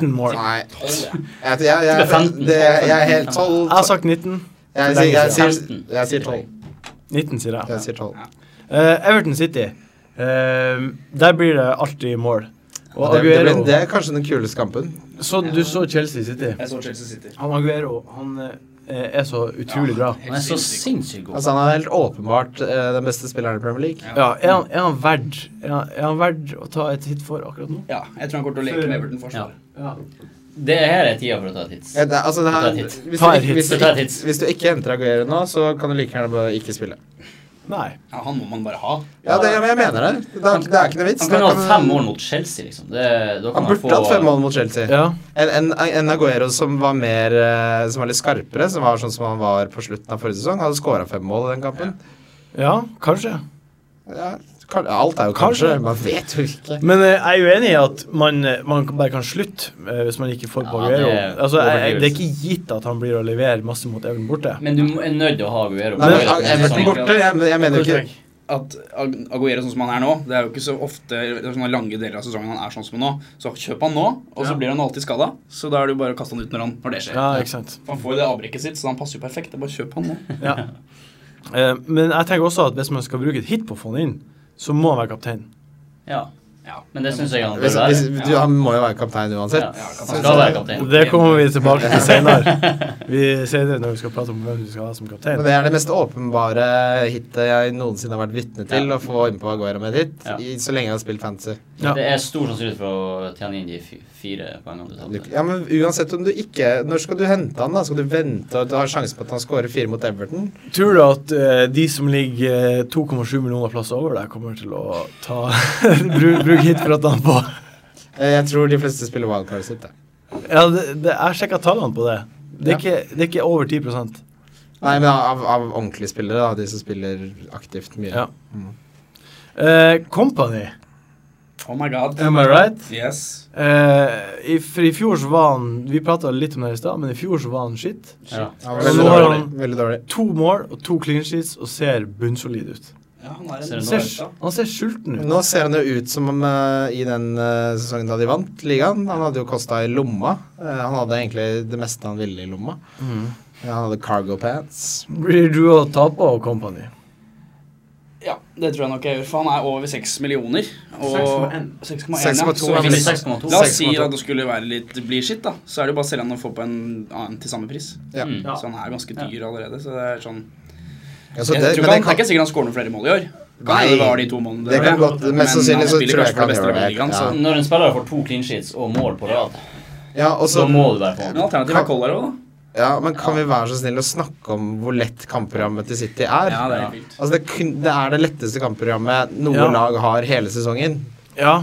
A: 19
B: 20.
A: mål.
C: Nei. Jeg, jeg, jeg,
B: Det er
C: jeg,
B: 15.
C: det, jeg er helt 12.
A: Jeg har sagt 19.
C: Jeg, sier- jeg, sier-
B: Femten.
C: jeg sier 12.
A: 19, sier jeg.
C: Jeg sier 12.
A: Eh, Everton City. Eh, der blir det alltid mål. Og
C: Det, det,
A: Aguero
C: blir- det er kanskje den kuleste kampen.
A: Så du så Chelsea City?
D: Jeg så Chelsea City.
A: Han Aguero, han eh, eh, er så utrolig bra.
B: Han er så sinnssykt god.
C: Altså, han er helt åpenbart eh, den beste spilleren i Premier League.
A: Ja, er han, er han verd er han, er han verd å ta et hit for akkurat nå?
D: Ja, jeg tror han kommer til å leke med Everton forsvar.
A: Ja.
B: Det her er tida for å ta et hits.
C: Ja, det, altså, det er,
B: Ta et hit.
C: hvis, du,
A: Ta et
C: ikke-
A: hit.
C: hvis, du,
B: Ta et
C: ikke-
B: hit.
C: hvis du ikke henter Aguero nå, så kan du like gjerne bare ikke spille.
A: Nei.
D: Ja, han må man bare ha.
C: Ja, det, men jeg mener det. Det er, det er ikke noe vits.
B: Han kan
C: Da
B: ha
C: kan-
B: fem mål mot Chelsea, liksom. Det, da kan
C: Han
B: han,
C: burde hatt fem
B: få
C: mål mot Chelsea.
A: Ja.
C: En, en, en Aguero som var mer eh, Som var litt skarpere, som var sånn som han var på slutten av forrige sesong, hadde skåra fem mål i den kampen.
A: ja, kanskje.
C: Ja, kan- alt er jo kanskje.
A: Kanskje.
C: Man vet jo ikke.
A: Men eh, jeg er jo enig i at man, eh, man kan- bare kan slutte eh, hvis man ikke får på
B: Ja,
A: Aguero.
B: det er
A: altså, jeg, jeg, det er
B: overdrivelse.
A: ikke gitt at han blir å levere masse mot Even borte.
B: Men du må- er nødt til å ha Aguero.
C: Nei,
B: Bare
C: men
B: at det er
C: Everton
B: sånn-
C: borte, jeg, jeg mener jo ikke
D: At Ag- Aguero sånn som han er nå Det er jo ikke så ofte det er sånne lange deler av sesongen han er sånn som nå. Så kjøp han nå, og så
A: Ja.
D: blir han alltid skada. Så da er det jo bare å kaste han ut når, han, når det skjer.
A: Ja, ikke sant.
D: For Han får jo det avbrekket sitt, så han passer jo perfekt. Det er bare å kjøpe han nå.
A: Ja. Eh, men jeg tenker også at hvis man skal bruke et hit på å få han inn, så må han være kaptein.
B: Ja.
D: Ja.
B: Men det syns jeg han bør
C: hvis,
B: være.
C: hvis, Du han må jo være kaptein uansett.
B: Ja, han skal være kaptein.
A: Det kommer vi tilbake til senere. Vi sier det når vi skal prate om hvem vi skal ha som kaptein.
C: Men det er det mest åpenbare hitet jeg noensinne har vært vitne til,
B: Ja.
C: å få innpå Aguero med et hit,
B: Ja.
C: i, så lenge jeg har spilt fantasy.
A: Ja.
B: Det er stor sannsynlighet for å tjene inn de fi- fire poengene du
C: Du-
B: tapte.
C: Ja, men uansett om du ikke Når skal du hente han, da? Skal du vente og du har sjansen på at han scorer fire mot Everton?
A: Tror du at eh, de som ligger eh, 2,7 millioner plasser over deg, kommer til å ta bru- bruke hit for at han på?
C: Eh, Jeg tror de fleste spiller wildcardet sitt, da.
A: Ja, det, det, jeg sjekka tallene på det. Det er, ikke, det er ikke over 10
C: Nei, men av, av ordentlige spillere, da. De som spiller aktivt mye.
A: Ja. Eh, company,
D: Oh my god.
A: am I right?
D: Yes.
A: Eh, i, for i fjor så var han Vi prata litt om det her i stad, men i fjor så var han shit.
B: Ja.
C: Han var
A: Så
C: veldig
A: nå har
C: dårlig.
A: han-
C: Veldig dårlig.
A: To mål og to clean sheets og ser bunnsolid ut.
D: Ja, han er
B: Ser
A: Han
D: en
B: du nå,
A: ser,
D: Norge.
A: han ser sulten ut.
C: Nå ser han jo ut som om eh, i den eh, sesongen da de vant ligaen. Han hadde jo kosta i lomma. Eh, han hadde egentlig det meste han ville i lomma.
A: Mm.
C: Ja, han hadde cargo pants.
A: Blir du å tape og company?
D: Ja, det tror jeg nok jeg gjør, for han er over 6 millioner. Og
A: 6,1.
D: 6,1. ja.
C: 6,2,
D: Så
C: ja, men
D: hvis-
B: 6,2.
D: La oss si
C: 6,2.
D: at det skulle være litt bli skitt, da. Så er det jo bare å selge han og få på en annen til samme pris.
C: Ja.
B: Mm.
A: Ja.
D: Så han er ganske dyr allerede. Så det er sånn
C: Ja, så
D: Jeg
C: det,
D: tror ikke han,
C: men det
D: det er
C: kan,
D: ikke sikkert han skårer noen flere mål i år. Kan
C: Nei,
D: hende det var de to målene
C: det
D: var,
C: kan godt
D: Men
C: Mest sannsynlig
D: han
C: så
D: spiller
C: tror jeg
D: kanskje på det
C: ikke han
D: beste
C: gjør
D: laget i
C: det.
D: ligaen, så-
C: Ja.
B: Når en spiller får to clean sheets og mål på rad,
C: Ja, og
B: så
C: så
B: må du være på
D: Men
B: han.
D: alternativet er Kolarov, da.
C: Ja, men kan vi være så snille å snakke om hvor lett kampprogrammet til City er?
D: Ja, det er
B: Ja.
D: vilt.
C: Altså, det, kun, det er det letteste kampprogrammet noe
A: Ja.
C: lag har hele sesongen.
A: Ja.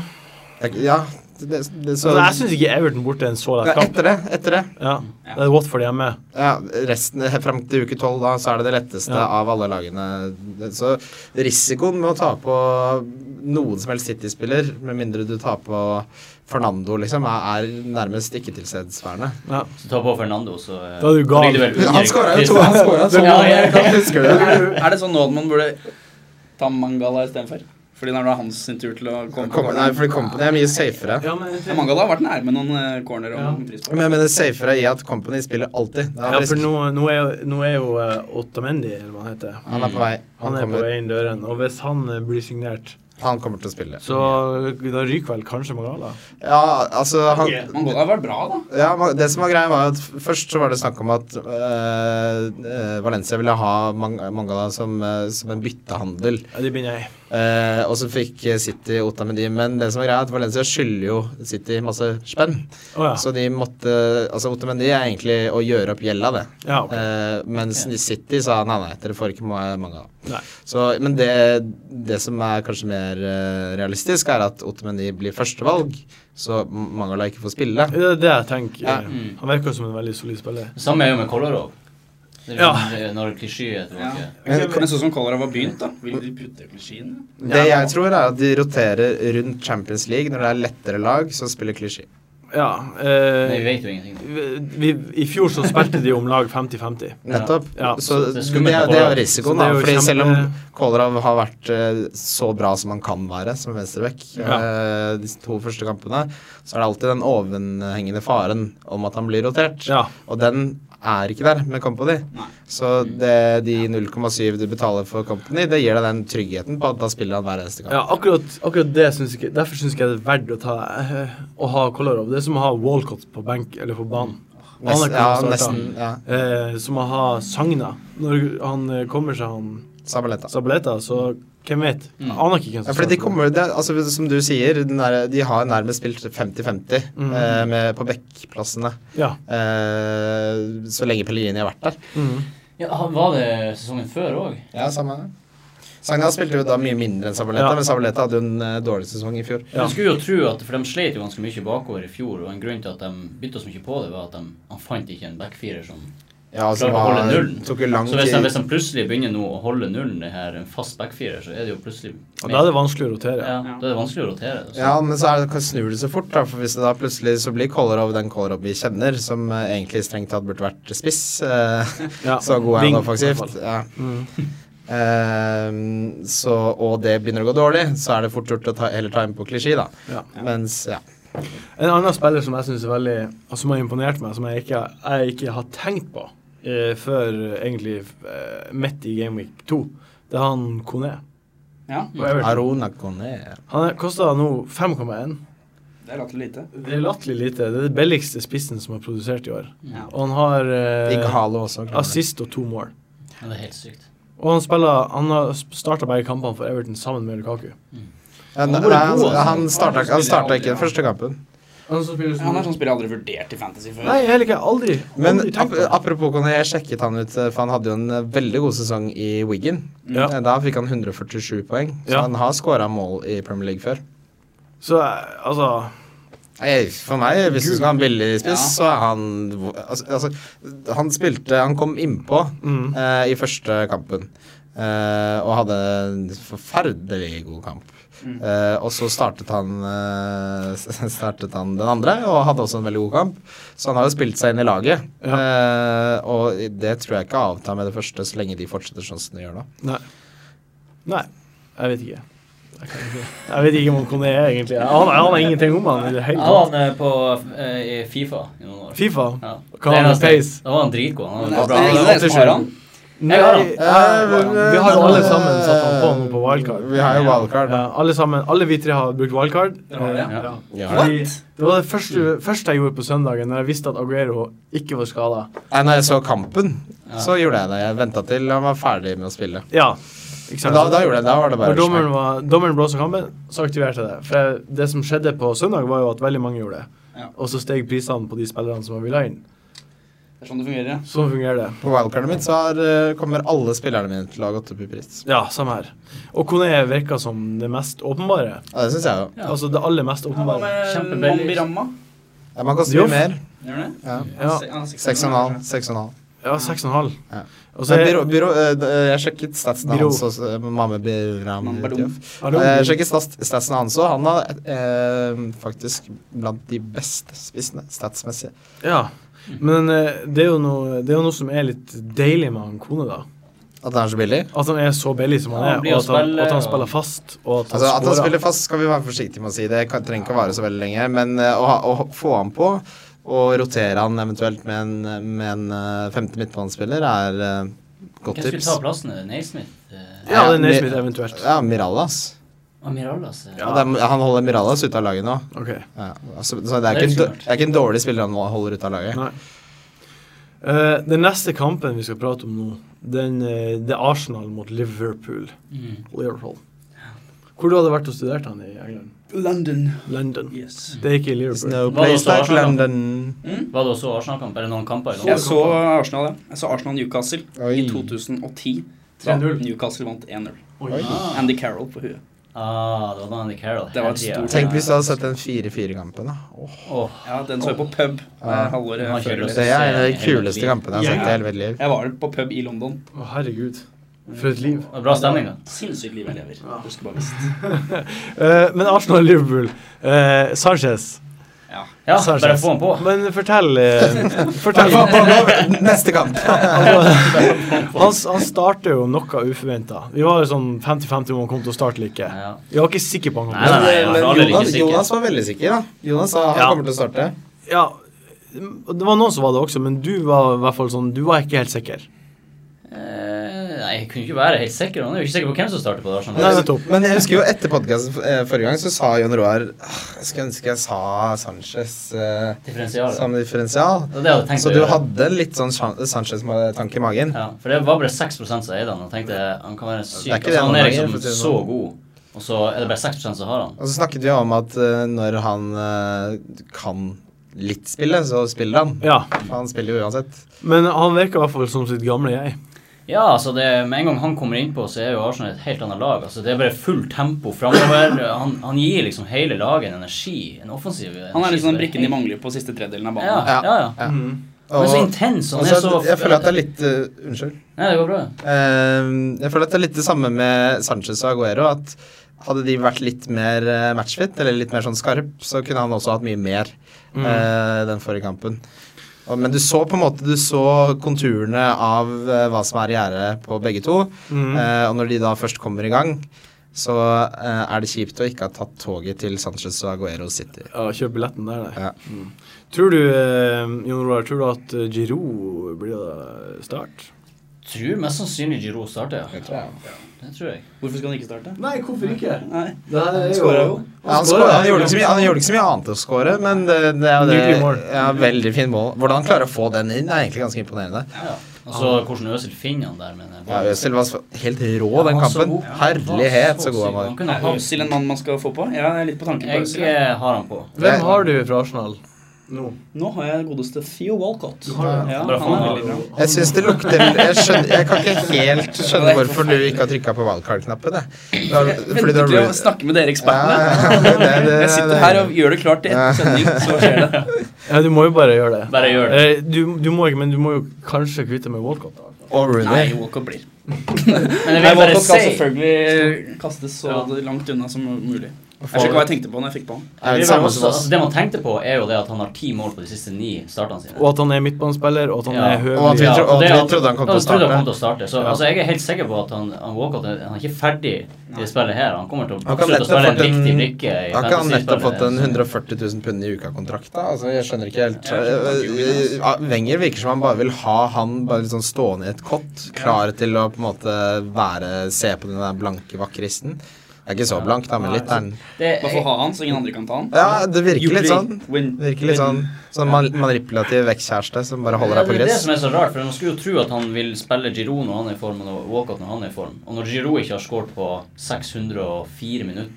C: Det, ja, det, det, så
A: Altså, jeg syns ikke Everton borte er en så
C: ja,
A: lett kamp.
C: Etter det, etter det.
A: Ja. Det er Watford hjemme.
C: Ja, resten, Fram til uke tolv, da, så er det det letteste
A: Ja.
C: av alle lagene. Det- Så risikoen med å ta på noen som helst City-spiller, med mindre du tar på Fernando, liksom, er, er nærmest ikke tilstedsværende.
A: Ja.
B: Så ta på Fernando, så eh,
A: Da er du gal.
B: ligger vel under
C: Han skåra jo to! Han skåra to!
B: Ja, jeg kan
C: Husker du det?
D: Er det sånn nå at man burde ta Mangala istedenfor? Fordi det er da hans sin tur til å komme
C: Kom, nei, for Company er mye safere.
D: Ja, Mangala har vært nærme noen eh, corner og noen frispark.
C: Men jeg mener safere i at Company spiller alltid. Det
A: Ja,
C: er
A: for
C: risk.
A: nå, nå er jo, nå er jo eh, Otamendi, eller hva han heter.
C: Han er på vei. Han,
A: Han er på
C: kommer,
A: vei inn døren, og hvis han eh, blir signert,
C: han kommer til å spille.
A: så da ryker vel kanskje Magala.
C: Ja, altså han,
D: Mangala har vært bra, da.
C: ja, ma- Det som var greia, var at f- først så var det snakk om at øh, øh, Valencia ville ha Mang Mangala som, øh, som en byttehandel.
A: Ja, det begynner jeg.
C: Eh, og så fikk eh, City Otamendi. Men det som var greia, er at Valencia skylder jo City masse spenn.
A: Å ja.
C: Så de måtte Altså, Otamendi er egentlig å gjøre opp gjelda, det.
A: Ja, ok.
C: Eh, mens
B: Ok.
C: i City sa nei, nei, dere får ikke ma- mange av
A: Nei.
C: Så, Men det, det som er kanskje mer eh, realistisk, er at Ottomendi blir førstevalg, så M- Mangala ikke får spille.
A: Det er det jeg tenker.
C: Ja.
B: Mm.
A: Han virker som en veldig solid spiller.
B: Det Samme er jo med Kolarov. Det er
A: Ja.
B: liksom, eh, Når klisjé er tilbake.
D: Men, men sånn som Kolarov har begynt, da Vil de putte klisjeen?
C: Det jeg tror, er at de roterer rundt Champions League. Når det er lettere lag, så spiller klisjé.
A: Ja.
B: Men vi
A: Eh,
B: vet jo ingenting.
A: vi, I fjor så spilte de om lag 50-50.
C: Nettopp.
A: Ja,
C: så det,
B: det er
C: det,
B: skummelt med
C: er- det er
B: Kolarov.
C: jo risikoen,
A: Så det
C: da.
A: er jo
C: Fordi
A: kjempe-
C: selv om Kolarov har vært eh, så bra som han kan være som venstreback eh, de to første kampene, så er det alltid den ovenhengende faren om at han blir rotert.
A: Ja.
C: Og den er ikke der med Company.
D: Nei.
C: Så det, de 0,7 du betaler for Company, det gir deg den tryggheten på at da spiller han hver eneste kamp.
A: Ja, akkurat, akkurat det syns jeg Derfor syns jeg det er verdt å ta eh, Å ha Kolarov. Det er som å ha Walcott på benk eller på banen. Og han er
C: Nesten, ja,
A: klar til å starte.
C: nesten. Ja.
A: Eh, som å ha sagna. Når han eh, kommer seg han
C: Sabaleta.
A: Sabaleta, så hvem vet?
B: Mm.
A: Aner ikke hvem
C: Ja,
A: som
C: fordi de
A: starter.
C: kommer, det, er- altså, som du sier, den der, de har nærmest spilt 50-50
A: Mm.
C: eh, med, på backplassene
A: Ja.
C: eh, så lenge Pellegrini har vært der.
A: Mm.
B: Ja, han- Var det sesongen før òg?
C: Ja, samme Sagna spilte jo da mye mindre enn Sabaleta,
A: Ja.
C: men Sabaleta hadde jo en eh, dårlig sesong i fjor.
A: Ja.
B: Jeg skulle jo tro at, For de slet jo ganske mye bakover i fjor, og en grunn til at de bytta så mye på det, var at de han fant ikke en backfirer som
C: Ja, altså,
B: Klarte å holde nullen.
C: tok jo lang
B: Så hvis de,
C: tid.
B: hvis de plutselig begynner nå å holde nullen, det her, en fast backfirer, så er det jo plutselig
A: Og da er det vanskelig å rotere.
B: ja, da er det vanskelig å rotere. Altså.
C: Ja, men så er det, snur det så fort, da, for hvis det da plutselig så blir Kolarov den Kolarov vi kjenner, som eh, egentlig strengt tatt burde vært spiss, eh,
A: Ja.
C: så god er
A: Wing,
C: han
A: i hvert
C: offensivt.
A: fall.
C: Ja.
A: Mm.
C: Ehm, så, og det begynner å gå dårlig, så er det fort gjort å ta, heller ta inn på klisjé, da.
A: Ja.
C: Mens, ja.
A: En annen spiller som jeg synes er veldig altså, Som har imponert meg, som jeg ikke, jeg ikke har tenkt på eh, før eh, egentlig eh, midt i Game Week 2, det er han Kone.
D: Mm. Ja,
C: Arona Kone.
A: Han kosta nå 5,1.
D: det er latterlig lite.
A: Det er latterlig lite. Det er den billigste spissen som er produsert i år.
D: Ja.
A: Og han har
C: Digg
A: eh,
C: Halo også. klarer det.
A: assist og to mål.
B: Ja, det er helt sykt.
A: Og han spiller Han har starta begge kampene for Everton sammen med Lukaku.
C: Ja,
B: Han
C: nei,
B: var
C: han,
B: god, altså.
C: han starta han starta ikke
D: Ja.
C: den første kampen.
A: Han som spiller
D: Han er sånn spiller jeg aldri vurdert i Fantasy før.
A: Nei, heller ikke. Aldri.
C: Men
A: aldri
C: ap
A: tenkt på det.
C: apropos Kone, jeg sjekket han ut, eh, for han hadde jo en eh, veldig god sesong i Wigan.
A: Ja.
C: Eh, Da fikk han 147 poeng, så
A: Ja.
C: han har scora mål i Premier League før.
A: Så eh, altså
C: Nei, For meg, hvis du skal ha en billig spiss,
D: Ja.
C: så er han altså, altså, Han spilte Han kom innpå
A: mm.
C: eh, i første kampen. eh, og hadde en forferdelig god kamp.
D: Mm.
C: Eh, og så startet han, eh, startet han den andre, og hadde også en veldig god kamp. Så han har jo spilt seg inn i laget. Eh, og det tror jeg ikke avtar med det første, så lenge de fortsetter sånn som de gjør nå.
A: Nei. Nei. Jeg vet ikke. Jeg, kan ikke. jeg vet ikke om Kone er egentlig Jeg aner jeg aner ingenting om han i det
B: Jeg
A: hele
B: var
A: tatt.
B: han eh, på eh, i Fifa i noen år.
A: Fifa.
B: Ja.
A: Hva har han med
B: eneste-
A: pace?
B: Da var han dritgod. Han
D: Men
B: var
D: det
B: bra.
D: er ingen av dere som har han.
A: Nei,
B: har
A: jeg,
B: han.
A: vi Eh, har jo alle sammen satt han på nå på wildcard.
C: Vi har jo wildcard.
A: Ja, alle sammen, alle vi tre har brukt wildcard.
D: Dere har det, ja.
A: Eh, ja.
C: Ja.
A: Fordi det var det første, første jeg gjorde på søndagen, når jeg visste at Aguero ikke var skada.
C: Nei, Eh, når jeg så kampen,
B: Ja.
C: så gjorde jeg det. Jeg venta til han var ferdig med å spille.
A: Ja, ikke
C: Så
A: sant?
C: da, da gjorde jeg det. Da var det
A: Når
C: bare
A: dommeren,
C: smack.
A: var, dommeren blåste kampen, så aktiverte jeg det. For jeg, det som skjedde på søndag, var jo at veldig mange gjorde det.
D: Ja.
A: Og så steg prisene på de spillerne som man ville ha inn.
D: Det er sånn det fungerer, ja.
A: Sånn fungerer det.
C: På wildcardet mitt så har, eh, kommer alle spillerne mine til å ha gått opp i pris.
A: Ja, samme her. Og Kone virka som det mest åpenbare.
C: Ja, det syns jeg jo.
B: Ja.
A: Altså det aller mest åpenbare.
D: Kjempebra.
B: Kjempebillig.
D: Mambiramma.
C: Ja, man koster mye
A: Dioff.
C: mer.
D: Gjør det?
C: Ja.
A: Ja.
D: Han er seks-
C: 6,5. 6,5.
A: Ja, 6,5.
C: Ja.
A: Og så
C: Men
A: er
C: Biro, Biro, eh, d- eh, jeg sjekket statsen
A: Biro.
C: hans også. eh, Mame Biram
D: Mame Badum.
C: Dioff.
A: Hallo.
C: Eh, Jeg sjekket stats- statsen hans også. Han har eh, faktisk blant de beste spissene statsmessig.
A: Ja. Men eh, det er, jo noe, det er jo noe som er litt deilig med han Kone, da.
C: At han er så billig.
A: At han er så billig som han
B: Ja,
A: er,
B: han blir
A: og at
B: å
A: han,
B: spille,
A: at han
B: og-
A: spiller fast. Og at han,
C: Altså, at han
A: scorer.
C: spiller fast, skal vi være forsiktige med å si. Det kan, trenger ikke å vare så veldig lenge. Men eh, å, ha- å ha- få han på, og rotere han eventuelt med en, med en eh, femte midtbanespiller, er eh, godt
B: Hvem skulle
C: tips.
B: ta plassen? Er det Naismith? Eh,
A: Ja, det er
C: Ja,
A: Naismith
C: men-
A: eventuelt.
C: Ja, Miralas.
B: Amiralas? eh.
A: Ja.
C: Og det er- Han holder Miralas ute av laget nå.
A: Ok,
C: Ja, altså, så det er,
B: Det er
C: ikke en, dår-
B: smart.
C: det er ikke en dårlig spiller han holder ute av laget.
A: nei. Eh, den neste kampen vi skal prate om nå, den, eh, det er Arsenal mot Liverpool.
B: Mm.
A: Liverpool. Hvor du hadde vært og studert han i England?
D: London.
A: London.
D: Yes.
A: Det er ikke i
C: There's
A: Liverpool.
C: no
B: Hva
C: place
B: da, så
C: like
B: Arsenal?
C: London.
D: Mm?
B: Var det også Arsenal-kamp? Eller noen kamper? i
D: Jeg
B: noen
D: så
B: kamper?
D: Arsenal, ja. Jeg så Arsenal-Newcastle i
C: Oi.
D: 2010.
A: 3-0.
D: Newcastle vant 1-0.
A: Oi.
B: Ah.
D: Andy Carroll på huet.
B: Ah, det var da Andy Carroll.
D: Det var et
B: Herre,
D: stort-
C: Tenk hvis du hadde sett den 4-4-kampen, da. Åh.
B: Åh,
D: Ja, den så jeg på pub
C: Ja.
D: eh, halvåret
B: Han har ikke
D: før.
B: lyst.
C: Det
D: eller-
C: er en av de kuleste
B: Ja.
C: kampene jeg har sett i hele mitt liv.
D: Jeg var på pub i London.
A: Å, herregud. For et liv.
B: det var bra stemning, da.
D: Sinnssykt liv jeg lever.
A: Ja.
D: Du skulle bare visst.
A: Eh, men Arsenal og Liverpool. Eh, Sanchez.
B: Ja,
A: Sanchez.
B: bare få han på.
A: Men fortell, eh, fortell. Altså,
C: Neste kamp.
A: Han, han starter jo noe uforventa. Vi var jo sånn 50-50 om han kom til å starte eller ikke.
B: Ja.
A: Vi var ikke sikre på han kom til å
B: Nei, nei, nei,
C: Men, eh,
B: for alle er
C: men
B: ikke
C: Jonas,
B: sikre.
C: Jonas var veldig sikker, da. Jonas sa han
A: Ja.
C: kommer til å starte.
A: Ja, det var noen som var det også, men du var i hvert fall sånn Du var ikke helt sikker.
B: Eh, Nei, jeg kunne ikke være helt sikker. Han er jo ikke sikker på hvem som starter på det. Arsenal.
A: Nei, nettopp.
C: Men jeg husker jo etter podkasten forrige gang så sa Jon Roar «Ah, Jeg skulle ønske jeg sa Sanchez eh,
B: Differensialet.
C: som differensial.
B: Det var det jeg hadde tenkt
C: Så
B: å
C: du
B: gjøre.
C: hadde litt sånn San- Sanchez-tanke i magen.
B: Ja, for det var bare 6 som eide han. Og tenkte han kan være
C: Det er
B: syk.
C: ikke
B: Og
C: det
B: så han
C: mange, for
B: er
C: å
B: liksom
C: si det
B: så
C: sånn.
B: god, og så er det bare 6 som har han.
C: Og så snakket vi om at eh, når han eh, kan litt spille, så spiller han.
A: Ja.
C: For Han spiller jo uansett.
A: Men han virker i hvert fall som sitt gamle jeg.
B: Ja, altså det, Med en gang han kommer innpå, så er jo Arsenal et helt annet lag. altså Det er bare fullt tempo framover. Han, han gir liksom hele laget en energi. En offensiv energi.
D: Han er liksom
B: så
D: den
B: det
D: brikken de
B: helt-
D: mangler på siste tredelen av
B: Ja,
D: banen.
C: Ja.
B: ja, ja.
C: Ja.
A: Mm.
B: Men så
C: Og-
B: intens.
C: og
B: Han er så
C: så- jeg føler at det er litt eh, Unnskyld.
B: Nei, det går bra.
C: Eh, jeg føler at det er litt det samme med Sanchez og Aguero. At hadde de vært litt mer eh, matchfit, eller litt mer sånn skarp, så kunne han også hatt mye mer
A: Mm.
C: eh, den forrige kampen. Og, men du så på en måte Du så konturene av eh, hva som er i gjære på begge to.
A: Mm.
C: Eh, og når de da først kommer i gang, så eh, er det kjipt å ikke ha tatt toget til Sanchez og Aguero City.
A: Ja, kjøp billetten der, det.
C: Ja.
A: Mm. Tror du, eh, Jon Roar, tror du at eh, Giroud blir det start?
B: Tror mest sannsynlig Giroud starter, ja.
C: Ja,
B: Det tror jeg.
D: Hvorfor skal han ikke starte?
A: Nei, hvorfor ikke?
D: Nei.
A: Det her er
D: Han skårer jo.
C: han, skåret, han, gjorde ikke så mye, han gjorde ikke så mye annet å skåre, men det, det er jo det
A: Nydelig mål.
C: ja, Veldig fin mål. Hvordan han klarer å få den inn, er egentlig ganske imponerende.
B: Ja. Og så hvordan Øzil finner han der med den
C: Ja,
B: ballen.
C: Øzil var så- helt
B: Ja,
C: rå den
B: han var så
C: kampen.
B: god. Ja, han var
C: Herlighet, så god
B: syk.
C: han var.
B: Han kunne
D: Er
B: ha
D: Øzil en mann man skal få på? Ja, jeg er litt på tanken på
B: Jeg
D: Øzil. ja.
B: eh, har han på.
A: Hvem har du fra Arsenal nå?
D: Nå har jeg godeste Theo Walcott.
A: Du har det,
D: ja,
B: Bare
D: han
B: faen,
D: er
B: han-
D: veldig bra.
C: Jeg syns det lukter jeg, skjønner, jeg kan ikke helt skjønne hvorfor du ikke har trykka på wildcard-knappen. jeg. Det var- Fordi du
D: Venter
C: har
D: til å
C: root.
D: snakke med dere ekspertene.
C: Ja, det- det- det-
D: Jeg sitter her og gjør det klart til etter sending, så skjer det.
A: Ja, du må jo bare gjøre det.
B: Bare gjør det.
A: Eh, Du, du må ikke, men du må jo kanskje kvitte med Walcott. da.
C: Og
D: Nei,
C: Rooney.
D: Walcott blir.
B: Men jeg
D: Nei,
B: vil bare
D: Walcott skal
B: si
D: selvfølgelig eh, kastes så
B: Ja.
D: langt unna som mulig. Jeg
C: Får-
D: ser ikke hva jeg tenkte på når jeg fikk på han.
C: er det
B: det,
C: samme
B: også,
C: som oss.
B: altså, det man tenkte på, er jo det at han har ti mål på de siste ni startene sine.
A: Og at han er midtbanespiller, og at han
B: Ja.
A: er høvelig.
C: Og at vi
B: Ja,
C: tro-
B: og det
C: vi
B: er alt-
C: trodde han kom
B: ja,
C: til å
B: trodde han
C: starte.
B: kom til å starte. Så
A: Ja.
B: altså, jeg er helt sikker på at han, han Walcott er- han er ikke ferdig i det spillet her. Han kommer til å
C: Han kan
B: absolutt å
C: nettopp
B: spille en
C: fått en-
B: viktig brikke. i
C: Har ikke han nettopp fått en
B: fantasy-spillet.
C: 140 000 pund i uka-kontrakt, da? Altså, jeg skjønner ikke helt
D: Jeg skjønner
C: Eh, Wenger virker som han bare vil ha han bare litt sånn stående i et kott, klar til å på en måte være Se på den der blanke vakristen. Det er ikke så blank, da, men litt. er den.
B: Det-
D: Man får ha han, så ingen andre kan ta han.
C: Ja, det virker litt sånn.
D: Win.
C: Virker litt sånn sånn man- manipulativ vekkkjæreste som bare holder
B: Ja,
C: deg på
B: Det er det
C: gress.
B: som er så rart, for man skulle jo tro at han vil spille Giroud når han er i form, og når- Walcott når han er i form. Og når Giroud ikke har skåret på 604 minutter,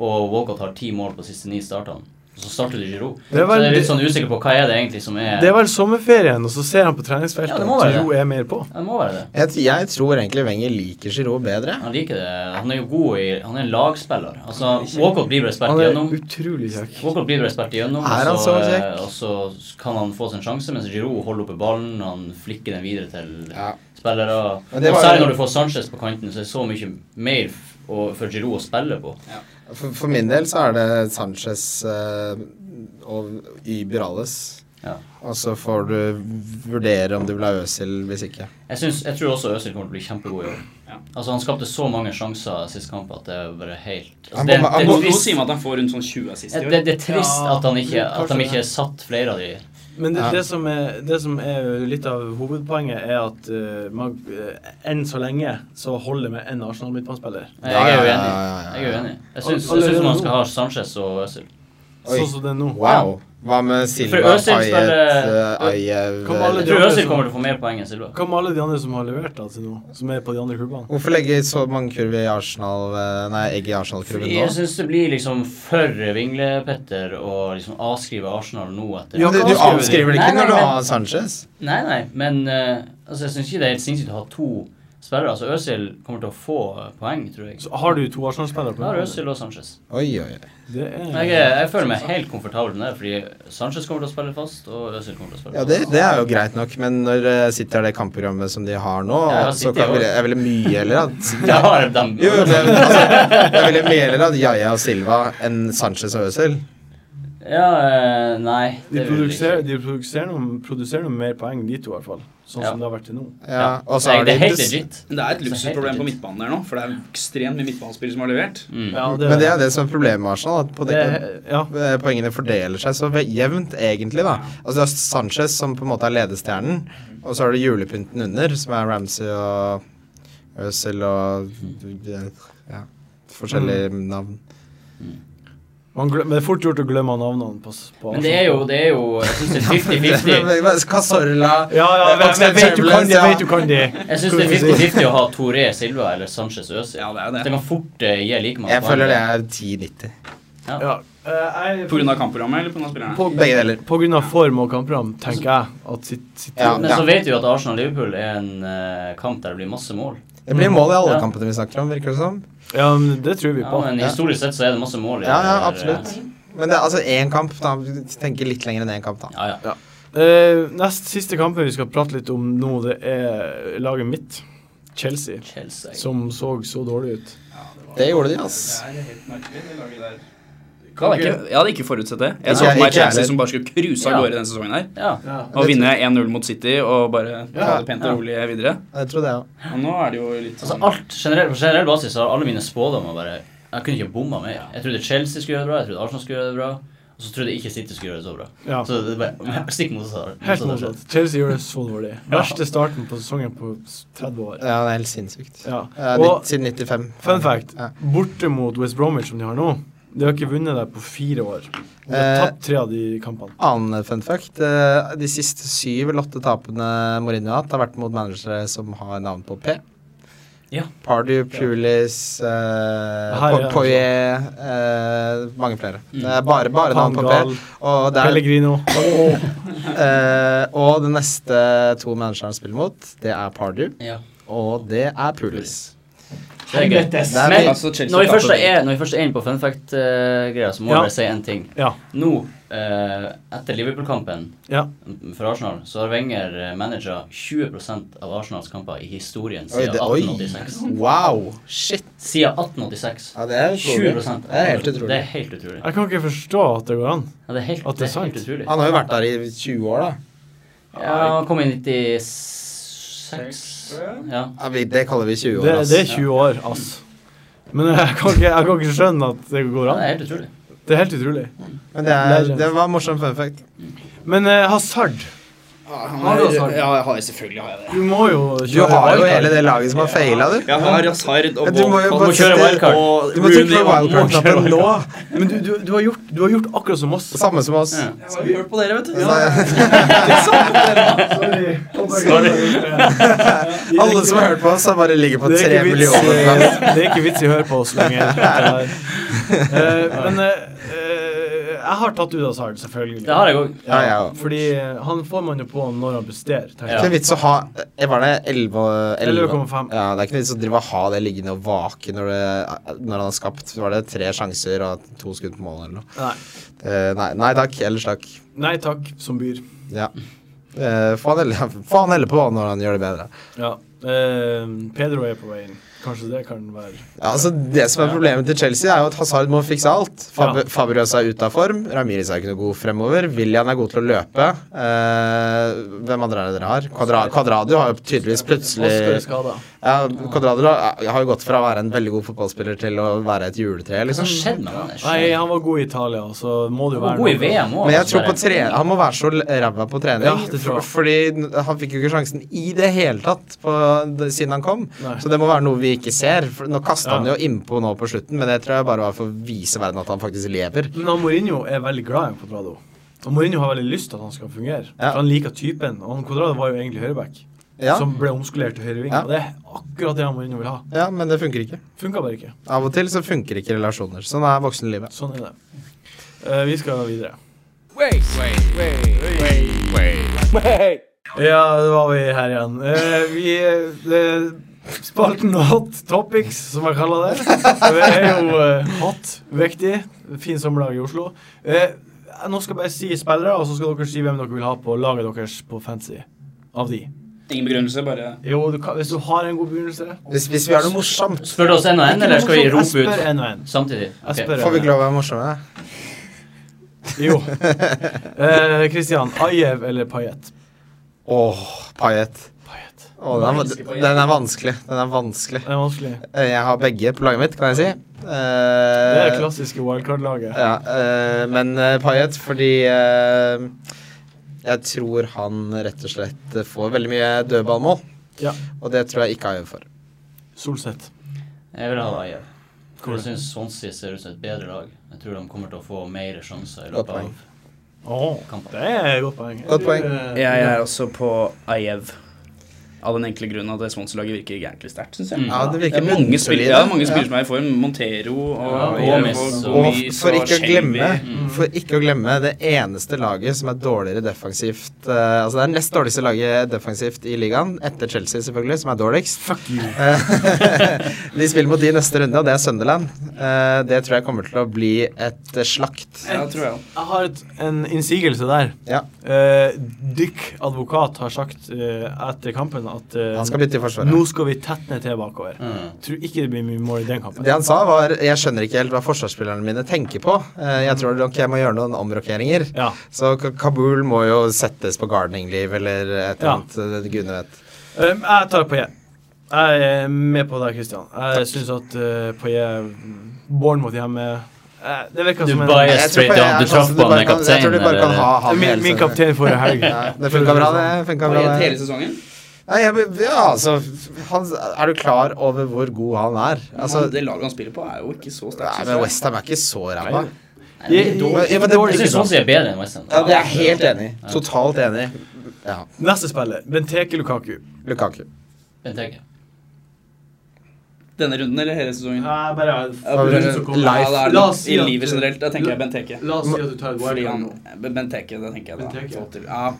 B: og Walcott har ti mål på de siste ni startene, så starter du Giroud.
A: Det er
B: Så jeg er
A: vel,
B: litt sånn usikker på hva er det egentlig som er
A: det er vel sommerferien, og så ser han på
B: Ja,
A: treningsfeltet
B: det må
A: at
B: være
A: Giroud er mer på.
B: Ja, det må være det.
C: Jeg, t- jeg tror egentlig Wenger liker Giroud bedre.
B: Han liker det. Han er jo god i Han er en lagspiller. Altså, Walcott blir bare spilt
A: Han er
B: gjennom.
A: utrolig kjekk.
B: Walcott blir bare spilt igjennom,
C: Er han
B: og
C: så
B: så,
C: kjekk?
B: eh, og så kan han få sin sjanse, mens Giroud holder oppe ballen, han flikker den videre til
C: Ja.
B: spillere.
C: Men det
B: Og
C: var
B: særlig
C: jo-
B: når du får Sanchez på kanten, så er det så mye mer f- å- for Giroud å spille på.
C: For, for min del så er det Sanchez eh, og Yber Alles.
B: Ja.
C: Og så får du vurdere om du vil ha Øsil hvis ikke.
B: Jeg, synes, jeg tror også Øzil kommer til å bli kjempegod i år.
D: Ja.
B: Altså Han skapte så mange sjanser sist kamp at det er bare helt altså,
C: Han
B: det,
C: må-
B: det,
C: han
B: er
D: Nå
C: må-
D: nå
B: trist,
D: sier man at han får rundt sånn 20 assist i
B: det,
D: år.
B: det, det er trist
A: Ja,
B: at, han ikke, at
A: kanskje
B: de ikke
A: det.
B: satt flere av de
A: Men det,
C: Ja.
A: det, som er, det som er litt av hovedpoenget, er at eh, man, eh, enn så lenge så holder det med én Arsenal-midtbanespiller.
B: Nei,
C: Ja,
B: Jeg er
C: ja,
B: jo
C: ja,
B: enig.
C: ja, ja, ja.
B: Jeg er jo enig. Jeg syns
A: Alle-
B: jeg syns
A: alle-
B: man skal ha Sanchez og Øzil.
C: Oi.
A: Sånn som det er nå.
C: Wow. Hva med
B: For
C: Silva,
B: Özil
C: Payet,
B: spiller-
C: eh, Ajev
A: Kan alle dra-
C: eh,
B: Jeg tror
A: andre
B: Øzil
A: som-
B: kommer til å få mer poeng enn Silva.
A: Hva med alle de andre som har levert da, til nå, som er på de andre klubbene?
C: Hvorfor legge så mange kurver i Arsenal eh, Nei, egg i Arsenal-kurven
B: Jeg
C: nå?
B: syns det blir liksom for vinglepetter å liksom avskrive Arsenal nå etter
A: Ja,
C: Men du, du
A: avskriver de.
C: avskriver det
B: Nei,
C: ikke
B: nei,
C: når du
B: men-
C: har Sanchez.
B: Nei, nei, men eh, altså, jeg syns ikke det er helt sinnssykt å ha to spillere. Altså Øzil kommer til å få eh, poeng, tror jeg.
A: Så har du to Arsenal-spillere på
B: Da har
A: midtbanen?
B: Øzil og Sanchez.
C: Oi, oi, oi.
A: Det er
C: Mm.
B: Jeg, er- jeg føler meg helt komfortabel med det, fordi Sanchez kommer til å spille fast, og Øzil kommer til å spille
C: Ja,
B: fast.
C: det, det er jo greit nok, men når eh, City har det kampprogrammet som de har nå,
B: Ja, ja,
C: så
B: City
C: kan
B: også.
C: vil jeg, jeg ville mye heller at
B: Da har de-
C: Jo, det, altså, jeg ville mye heller at Jaja og Silva enn Sanchez og Øzil.
B: Ja, eh, nei.
A: De,
B: det vil jeg
A: produserer,
B: ikke.
A: de produserer, noen, produserer noen mer poeng, de to i hvert fall. Sånn
B: Ja.
A: som det har vært til nå.
C: Ja, og så
B: Nei,
C: har
B: det
C: de
B: er helt
C: dess-
B: legit.
D: Men det er et
B: Så helt
D: luksusproblem på
B: legit.
D: midtbanen der nå, for det er ekstremt mye midtbanespillere som har levert.
B: Mm.
C: Men det er det som er problemet med Arsenal. At på det,
A: det- ja.
C: eh, poengene fordeler seg så ve- jevnt, egentlig. da Altså Det er Sanchez som på en måte er ledestjernen, og så har du julepynten under, som er Ramsey og Øsel og ja, forskjellige
A: Mm.
C: navn.
A: Man glem, men det er fort gjort å glemme navnene på, på
B: Men det er jo, det er jo Jeg syns det er 50-50.
C: Casorla
A: Ja, ja, jeg, jeg, vet du kan det, jeg vet du kan det.
B: Jeg synes det er 50-50 å ha Toré Silva eller Sanchez Øzil.
D: Ja, det er det.
B: Det kan fort eh, gi like mange
C: Jeg føler det er 10-90.
A: Ja. Eh, jeg-
D: Pga. kampprogrammet eller pga. spillerne?
A: på,
C: Begge deler.
A: på grunn av form og kampprogram, tenker jeg at sitt, sitt
C: Ja.
B: Men så vet vi jo at Arsenal-Liverpool er en eh, kamp der det blir masse mål.
C: Det blir mål i alle
B: Ja.
C: kampene vi snakker om, virker det som.
A: ja, men det tror vi
B: Ja,
A: på.
B: men
C: Ja.
B: historisk sett så er det masse mål. i
C: Ja, ja,
B: det der, eh,
C: absolutt. Men det er altså én kamp, da. Vi tenker litt lenger enn én kamp, da.
B: Ja, ja.
A: Eh, nest siste kampen vi skal prate litt om nå, det er laget mitt, Chelsea,
B: Chelsea.
A: som så så dårlig ut.
C: Det gjorde de, ass.
D: Det er helt merkelig, det laget der. Jeg
A: Kan
D: hadde ikke, jeg hadde ikke forutsett det. Jeg
C: Ikke
D: så
C: jeg-
D: for meg
C: ikke jeg
D: Chelsea
C: heller.
D: som bare skulle cruise av
B: Ja.
D: gårde denne sesongen her.
B: Ja.
A: Ja.
D: Og vinne 1-0 mot City og bare ta det pent
B: Ja.
D: og rolig videre.
C: Det trodde jeg òg.
D: Og nå er det jo litt
B: Altså
D: sånn
B: alt, generell, På generell basis så har alle mine spådommer bare Jeg kunne ikke bomma mer. Jeg trodde Chelsea skulle gjøre det bra, jeg trodde Arsenal skulle gjøre det bra. Og så trodde jeg ikke City skulle gjøre det så bra.
A: Ja.
B: Så det er bare stikk motsatt.
A: Helt motsatt. Chelsea gjør det så dårlig. Verste starten på sesongen på s- 30 år.
C: Ja, det er helt sinnssykt.
A: Ja.
C: Ja,
A: Og
C: litt, siden 95.
A: fun fact,
C: Ja.
A: borte mot West Bromwich som de har nå, de har ikke vunnet der på fire år. De har
C: Eh.
A: tapt tre av de kampene.
C: Annen fun fact. eh, De siste syv eller åtte tapene Mourinho har hatt, har vært mot managere som har navn på P.
B: Ja.
C: Pardew, Pulis, eh,
A: Her, ja.
C: Po- Poirier eh, Mange flere. Det er bare, bare navn på
A: Pangal,
C: P. Og, det er,
A: Pellegrino.
C: eh, og de neste to managerne han spiller mot, det er Pardew,
B: Ja.
C: og det er Pulis.
B: Det er gøy.
A: Helvetes.
C: Det er
B: Men
D: altså, Chelsea
B: når vi først
D: tapte.
B: er, når vi først er inne på fun fact-greia, så må
A: Ja.
B: jeg bare si en ting.
A: Ja.
B: Nå, eh, etter Liverpool-kampen
A: Ja.
B: for Arsenal, så har Wenger eh, managet 20 av Arsenals kamper i historien
C: Oi,
B: siden
C: det, oi!
B: 1886.
C: Wow! Shit!
B: Siden 1886.
C: Ja, det er utrolig.
B: 20
C: Det er helt
B: Det
C: utrolig.
B: er helt utrolig.
A: Jeg kan ikke forstå at det går an.
B: Ja, det er helt,
A: At det
B: det
A: er
B: er helt
A: sant.
B: utrolig.
C: Han har jo vært der i 20 år, da.
B: Ja, han kom i 96 ja.
C: Ja, vi- Det kaller vi 20
A: Det,
C: år, ass.
A: det er 20 år, ass. Men eh, jeg kan, ikke, jeg kan ikke skjønne at det går
B: ja,
A: an.
B: det er helt utrolig.
A: Det er helt utrolig.
C: Men det,
A: Det
C: er,
A: er-
C: det var en morsom fun fact.
A: Men eh, Hazard, Har du også sagt?
D: Ja, jeg har, selvfølgelig har jeg det.
A: du må jo
C: Du har jo
A: wildcard.
C: hele det laget som har faila, du.
D: Jeg har Hazard og
C: Ja, du må
D: Walcott
C: jo bare
D: og
C: kjøre
B: wildcard.
D: og
C: Du må trykke
D: Rooney
C: på
D: og-
C: wildcard-knappen nå.
A: Men du, du, du, har gjort, du har gjort akkurat som oss.
C: Samme som oss.
B: Ja.
D: Jeg har hørt på dere, vet du.
A: Sorry.
C: Alle som har hørt på oss, har bare ligget på
A: Det er
C: tre
A: ikke vits i-
C: millioner. plass.
A: Det er ikke vits i å høre på oss lenger. Eh, men eh, eh, jeg har tatt ut Hazard, selvfølgelig.
B: Det har jeg òg.
C: Ja, ja.
A: Fordi eh, han får man jo på når han presterer. tenker
C: Det er
A: jeg.
C: ikke vits å ha eh, Var det 11
A: 11,5.
C: Ja, det er ikke noe vits å drive og ha det liggende og vake når, det, når han har skapt Var det tre sjanser og to skudd på mål eller noe?
A: Nei.
C: Eh, nei, nei takk. Ellers takk.
A: Nei takk, som byr.
C: Ja. Eh, få han heller- få han heller på når han gjør det bedre.
A: Ja. Eh, Pedro er på veien. Kanskje det kan være
C: Ja, altså Det som er problemet til Chelsea, er jo at Hazard må fikse alt. Fab
A: Ja.
C: Fabregas er ute av form, Ramirez er ikke noe god fremover, William er god til å løpe. Eh, hvem andre er det dere har? Quadra Quadradio har jo tydeligvis
A: Oscar er
C: plutselig
A: skada.
C: ja, Quadradio har har jo gått fra å være en veldig god fotballspiller til å være et juletre,
B: Hva har
C: liksom.
B: skjedd med han? Jeg
A: Nei,
B: skjønner.
A: han var god i Italia, så må det jo
B: Han var
A: være
B: god i
A: noe.
B: VM òg.
C: Men jeg tror på
B: altså,
C: tre han må være så l- ræva på trening.
A: Ja, det tror jeg.
C: f- Fordi han fikk jo ikke sjansen i det hele tatt på, siden han kom.
A: Nei.
C: Så det må være noe vi ikke ser. For nå kasta han
A: Ja.
C: jo innpå nå på slutten, men det tror jeg bare var for å vise verden at han faktisk lever.
A: Men han Mourinho er veldig glad i Quadrado. Og Mourinho har veldig lyst til at han skal fungere.
C: Ja.
A: For han liker typen. Og han Quadrado var jo egentlig høyreback,
C: Ja,
A: som ble omskolert til høyreving.
C: Ja.
A: Og det er akkurat det han Mourinho vil ha.
C: ja men det funker ikke.
A: Funka bare ikke.
C: Av og til så funker ikke relasjoner. Sånn er voksenlivet.
A: Sånn er det. Eh, vi skal videre. Ja, da var vi her igjen. Eh, vi eh, Spalten Hot Topics, som jeg kaller det. Det er jo eh, hot, viktig. Fin sommerdag i Oslo. Eh, nå skal jeg bare si spillere, og så skal dere si hvem dere vil ha på laget deres på fancy. Av de.
D: Ingen begrunnelse, bare
A: Jo, du kan, hvis du har en god begynnelse
C: Hvis, hvis vi gjør noe morsomt,
B: Spør du oss en og en, eller skal vi
A: Jeg
B: rope
A: spør
B: ut
A: en og en.
B: samtidig?
A: Jeg
B: Ok.
A: spør
C: får vi ikke lov å være morsomme.
A: Jo. Eh, Christian, Ajev eller Payet?
C: Åh, Payet.
A: Payet.
C: Åh, den, er, den er vanskelig. Den er vanskelig.
A: Det er vanskelig.
C: Eh, Jeg har begge på laget mitt, kan jeg si.
A: Det er
C: Eh,
A: det klassiske wildcard-laget.
C: ja, eh, men eh, Payet fordi eh, jeg tror han rett og slett får veldig mye dødballmål.
A: Ja.
C: Og det tror jeg ikke Ayew får.
A: Solseth.
B: Jeg vil ha Ayer. For
A: Hvor?
B: jeg syns Swansea ser ut som et bedre lag. Jeg tror de kommer til å få mer sjanser i
C: Godt
B: løpet
C: poeng.
B: av
A: Åh,
B: kampen.
A: det er et godt poeng.
C: Godt poeng.
A: Eh,
D: Jeg er også på Ajev. Av den enkle grunnen at det Swansea-laget virker jæklig sterkt, syns jeg.
B: Mm. Ja,
C: det
D: det
C: virker
D: er mange
C: bunnsolid,
D: spillere, ja, det er mange
C: ja.
D: spillere som er i form. Montero og
B: Ja,
D: Ayew
B: Gomez og-
C: Og
D: Gomez
C: for
D: og
C: ikke, å
D: Shelby.
C: glemme,
B: Mm.
C: for ikke å glemme det eneste laget som er dårligere defensivt eh, Altså det er nest dårligste laget defensivt i ligaen, etter Chelsea selvfølgelig, som er dårligst.
A: Fuck you.
C: Eh, de spiller mot de neste runde, og det er Sunderland. Eh, det tror jeg kommer til å bli et eh, slakt.
D: Ja, tror jeg også.
A: Jeg har et, en innsigelse der.
C: Ja.
A: Eh, Dick advokat har sagt eh, etter kampen at eh,
C: Han skal bytte i forsvaret.
A: nå skal vi tett ned til bakover.
B: Mm.
A: Tror ikke det blir mye mål i den kampen.
C: Det han sa, var Jeg skjønner ikke helt hva forsvarsspillerne mine tenker på. Eh, Jeg tror nok jeg må gjøre noen omrokeringer.
A: Ja.
C: Så Ka- Kabul må jo settes på gardening liv eller et eller
A: Ja.
C: annet. eh, Gudene vet.
A: Eh, jeg tar Paillet. Jeg er med på deg, Christian. Jeg syns at uh, Paillet Bournemouth hjemme eh, Det virker
B: Du
A: som en
B: bias-
C: Jeg tror
B: straight
C: bare-
B: down. Du
C: altså,
B: traff på han
C: bare
B: med
C: kan- Jeg tror du
B: kapteinen,
C: bare kan
B: eller?
C: ha han
A: min, min kaptein forrige helg.
C: Ja, det funka bra, det. Funka bra,
D: Ayew hele
C: det.
D: sesongen.
C: Nei, jeg, ja, altså han, Er du klar over hvor god han er? Altså,
D: Men det laget han spiller på, er jo ikke så
C: nei,
D: sterkt.
C: men
D: synes jeg.
C: Westham er ikke så ræva.
B: Nei, det er dårlig.
C: Ja, men det-
B: Jeg syns Swansea er bedre enn West Ham.
C: Ja, det er jeg helt enig i. Totalt enig. Ja.
A: sånn. Neste spiller, Benteke Lukaku.
C: Lukaku.
B: Benteke.
D: Denne runden eller hele sesongen?
A: Jeg bare
D: Ja, men-
C: Favoritten som kommer.
D: Ja, da er
A: La oss
D: det
A: si
D: I
A: at-
D: livet generelt, da tenker jeg Benteke.
A: La oss si at du tar et
D: Fordi
A: wildcard
D: han
A: nå.
D: Benteke, det tenker jeg da.
A: Benteke, ja.
D: Få til- Ja,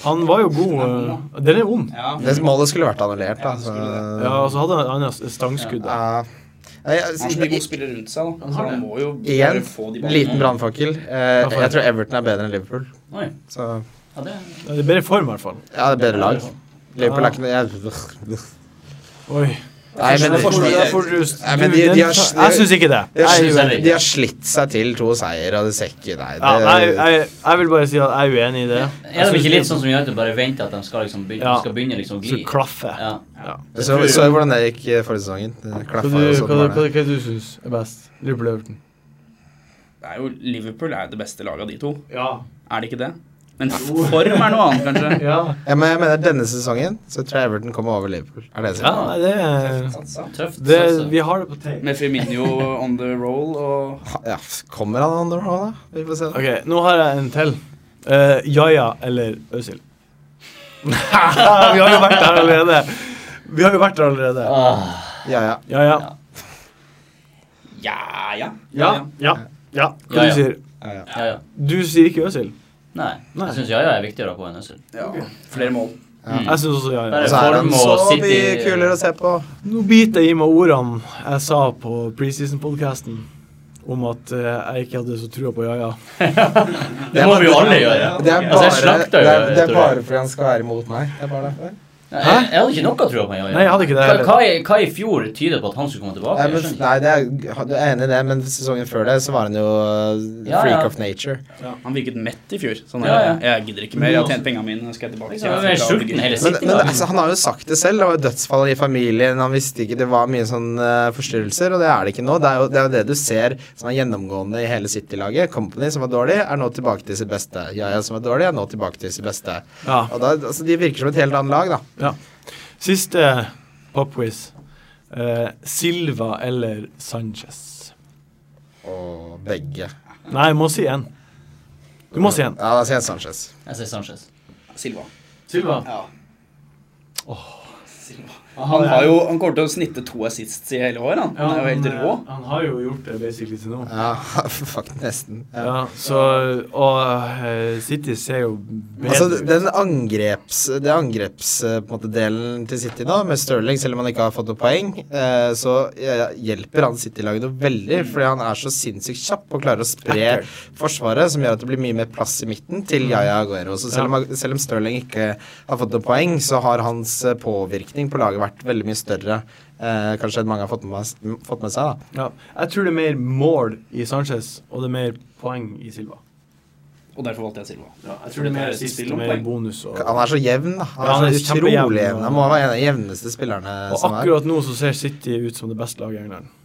A: Han var jo god. eh, Den er ond.
D: ja.
C: Mm. Det målet skulle vært annullert, da.
D: Ja, det skulle
C: så-
A: Ja, altså, og så hadde han et annet stangskudd. der.
C: Ja. Nei, jeg-
D: Han har så mye gode spillere rundt seg, da.
A: Han
D: Så
A: har
D: han
A: det.
D: må jo
C: Igjen,
D: bare få de ballene.
C: liten brannfakkel. Eh,
A: får
C: jeg
A: jeg.
C: tror Everton er bedre enn Liverpool.
B: Oi.
C: Så
B: Ja, det
A: Ja, Det er bedre form, i hvert fall.
C: ja, det er bedre lag. Liverpool er ikke noe jeg,
A: Oi.
C: Nei,
A: Jeg
C: men
A: får- jeg får rust.
C: Nei, men
A: Du,
C: de- de
A: den
C: har-
A: tar- Jeg syns ikke det.
C: de har,
B: Jeg er uenig.
C: slitt, de har slitt seg til to seier, og det ser ikke Nei,
A: Ja, jeg,
C: det,
A: jeg, jeg vil bare si at jeg er uenig i det.
B: Er de ikke litt sånn som United bare venter at de skal, liksom begynne,
A: Ja.
B: skal begynne liksom
A: Så
B: å gli?
A: klaffer.
B: Ja.
C: så, så jo hvordan det gikk eh, forrige sesongen. Det klaffa jo sånn. var det.
A: du syns er best? Liverpool-Everton.
D: Det er jo, Liverpool er jo det beste laget av de to.
A: Ja.
D: Er det ikke det? Men form er noe annet, kanskje.
A: Ja.
C: Ja, men jeg mener denne sesongen så tror jeg Everton kommer over Liverpool. Er det jeg sier?
A: nei, det, er-
B: Tøft.
A: det
B: satser.
A: Vi har det på tape.
D: Med Firmino on the roll og
C: Ha- Ja, kommer han under nå, da? Vi får se.
A: Ok, nå har jeg en til. Eh, Yaya eller Øzil? vi har jo vært der allerede. Vi har jo vært der allerede.
B: Ah,
C: Ja, ja.
A: Yaya.
D: Ja, ja.
A: Ja. Ja. Ja. Hva
B: Yaya.
A: du sier
C: ja, ja.
B: ja, ja.
A: Du sier ikke Øzil.
C: Mm.
B: Nei.
A: Nei.
B: Jeg syns Jaja er viktigere på enn Øzil.
D: ja. Flere mål.
C: Ja.
B: Mm.
A: Jeg syns også Yaya.
B: Bare
C: Og så er han
B: Form
C: så
B: og
C: mye
B: City-
C: kulere å se på.
A: Nå biter jeg i meg ordene jeg sa på preseason-podkasten om at eh, jeg ikke hadde så trua på Jaja.
B: Det må vi jo alle gjøre.
C: Det er
B: Altså,
C: bare,
B: jeg slakter
C: det
B: jo
C: er, det er
B: Torreira.
C: bare fordi han skal være imot meg. Det er bare derfor.
B: Nei, Jeg, jeg hadde ikke noe trua på Jaja.
A: Nei, jeg hadde ikke det
B: Hva,
A: heller.
B: hva, i- hva i fjor tyder på at han skulle komme tilbake?
C: Nei,
B: Jeg
C: men,
B: skjønner ikke.
C: nei det er, du er enig i det, men sesongen før det så var han jo eh,
B: Ja,
C: freak
B: ja.
C: of nature.
D: Han virket mett i fjor. Sånn,
B: Ja, ja.
D: jeg, jeg gidder ikke mer. Jeg har tjent pengene mine, nå skal jeg tilbake.
B: Liksom, jeg er sulten hele
C: Men,
B: City.
C: men
B: da.
C: altså, han har jo sagt det selv. Det var jo dødsfall i familien. Han visste ikke Det var mye sånn eh, forstyrrelser, og det er det ikke nå. Det er jo det, er jo det du ser som er gjennomgående i hele City-laget. Company, som var dårlig, er nå tilbake til sitt beste. Yaya, som var dårlig, er nå tilbake til sitt beste.
A: Ja.
C: Og da, altså, de virker som et helt annet lag, da.
A: Siste popquiz. Eh, Silva eller Sanchez?
C: Og begge.
A: Nei, jeg må si én. Du må si én.
C: Ja, da sier jeg Sanchez.
B: Jeg sier Sanchez.
D: Silva.
A: Silva.
D: Ja. Silva. Han, har jo, han kommer til å snitte to assists i hele år. Han, han er jo helt rå.
A: Han har jo gjort det basically til nå.
C: Ja, faktisk nesten. Ja.
A: Ja, så Og eh, City ser jo bedre
C: Altså,
A: ut.
C: den angreps, eh, det angrepsdelen til City nå, med Sterling, selv om han ikke har fått noe poeng, eh, så eh, hjelper han City-laget noe veldig, fordi han er så sinnssykt kjapp og klarer å spre forsvaret, som gjør at det blir mye mer plass i midten til
A: Mm.
C: Yaya Aguero. Så selv om, selv om Sterling ikke har fått noe poeng, så har hans eh, påvirkning på laget vært veldig mye større. Eh, kanskje enn mange har fått med, fått med seg, da.
A: Ja. Jeg tror det er mer mål i Sanchez, og det er mer poeng i Silva.
D: Og derfor valgte jeg Silva.
A: Ja, jeg tror det er mer sist
D: Spill
A: og
D: om
A: mer
D: poeng.
A: bonus. Og,
C: Han er så jevn, da. Han
A: Ja, han
C: er
A: er
C: så utrolig
A: kjempejevn.
C: jevn. Han må være en av de jevneste spillerne
A: og
C: som er.
A: akkurat nå så ser City ut som det beste laget i England.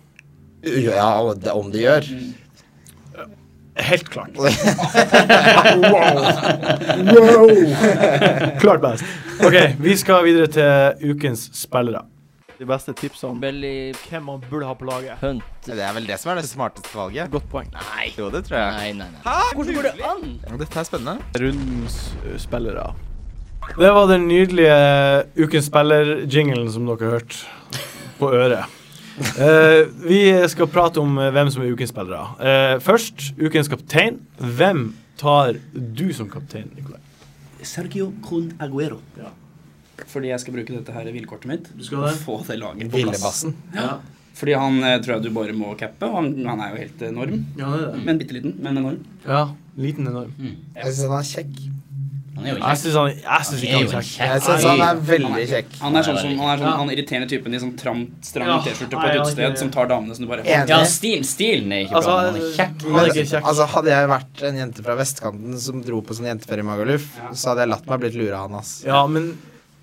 C: Ja, og det- om de gjør.
A: Helt klart. wow! Klart best. OK, vi skal videre til ukens spillere. de beste tipsene om
E: Belly
A: hvem man burde ha på laget.
E: Hunt.
C: Det er vel det som er det smarteste valget.
A: Godt poeng.
C: Nei. Jo, det tror jeg.
E: Nei, nei, nei.
D: Hvordan går det an?
C: Dette er spennende.
A: Rundens uh, spillere. Det var den nydelige Ukens spiller-jinglen som dere hørte på øret. Eh, vi skal prate om eh, hvem som er ukens spillere. Eh, først ukens kaptein. Hvem tar du som kaptein, Nikolai?
D: Sergio Con Aguero.
A: Ja.
D: Fordi jeg skal bruke dette her vilkortet mitt.
A: Du skal det?
D: Og Få det laget på plass.
C: Villebassen.
D: Fordi han eh, tror jeg du bare må cappe. og Han, han er jo helt enorm.
A: Ja, det er
D: Men bitte liten, men enorm.
A: Ja, liten enorm.
B: Mm.
C: Jeg syns han er kjekk.
B: Han er jo
A: Jeg
B: kjekk.
A: syns han jeg synes ikke han er
B: Han er jo en
A: kjekk.
B: kjekk
C: Jeg syns han er veldig kjekk.
D: Han er sånn som han er sånn,
A: Ja.
D: han irriterende typen i sånn tram, stram
A: Ja.
D: T-skjorte på
A: Nei,
D: et
A: han er
D: utested
A: ikke-
D: som tar damene som du bare
C: Enig.
B: Ja, stil, stilen er ikke bra, men han er kjekk.
A: Altså, han er ikke kjekk.
C: Altså, hadde jeg vært en jente fra vestkanten som dro på sånn jenteferie i Magaluf, så hadde jeg latt meg blitt lura av han, ass.
A: Ja, men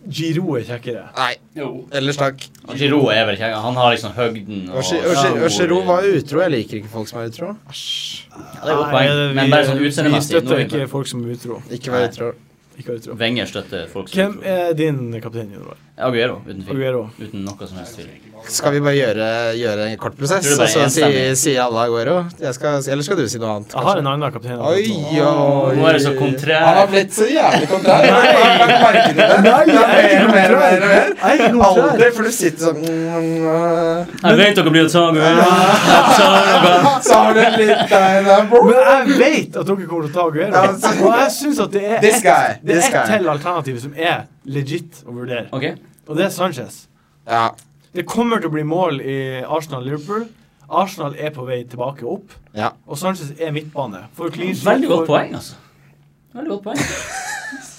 A: Giro er kjekkere.
C: Nei.
D: Jo.
C: Ellers takk.
B: Og Giroud eh, er vel kjekk. Han har liksom høgden og
C: Ørsero var utro. Jeg liker ikke folk som er utro.
B: Ja, det er godt poeng.
A: Nei,
B: Men bare sånn
A: vi, vi
B: utseendemessig. nå
A: støtter
B: er vi-
A: ikke folk som er utro.
C: Ikke vær utro.
A: Ikke utro.
B: Wenger støtter folk som
A: Hvem
B: utro.
A: er din kaptein, Jonvald?
B: Aguero, uten tvil.
A: Aguero.
B: Uten noe som helst tvil.
C: Skal vi bare gjøre, gjøre en kort prosess,
B: Jeg tror
C: og
B: det
C: så
B: bare er
C: sier
B: enstemmig.
C: sier alle Aguero? Jeg skal, eller skal du si noe annet?
A: Jeg har en annen kaptein.
C: Oi, oi.
B: Nå er det så kontrær.
C: Han har blitt så jævlig kontrær. Jeg har lagt merke til det.
A: Nei,
C: Det er
A: jeg er
C: mer og mer og mer. og mer.
A: Jeg er ikke noe
C: Aldri, for du sitter sånn mm, mm,
B: Jeg vet dere blir tatt
C: mm. Så har du litt deg der, bro.
A: Men jeg vet at dere kommer til å ta Aguero.
C: Ja, så-
A: Og jeg syns at det er
C: This
A: ett
C: guy.
A: det er
C: This
A: ett
C: guy.
A: til alternativ som er legit å vurdere,
B: Ok,
A: og det er Sanchez.
C: Ja.
A: Det kommer til å bli mål i Arsenal-Liverpool. Arsenal er på vei tilbake opp,
C: Ja.
A: og Sanchez er midtbane. For clean sheet,
B: Veldig godt
A: for-
B: poeng, altså. Veldig godt poeng.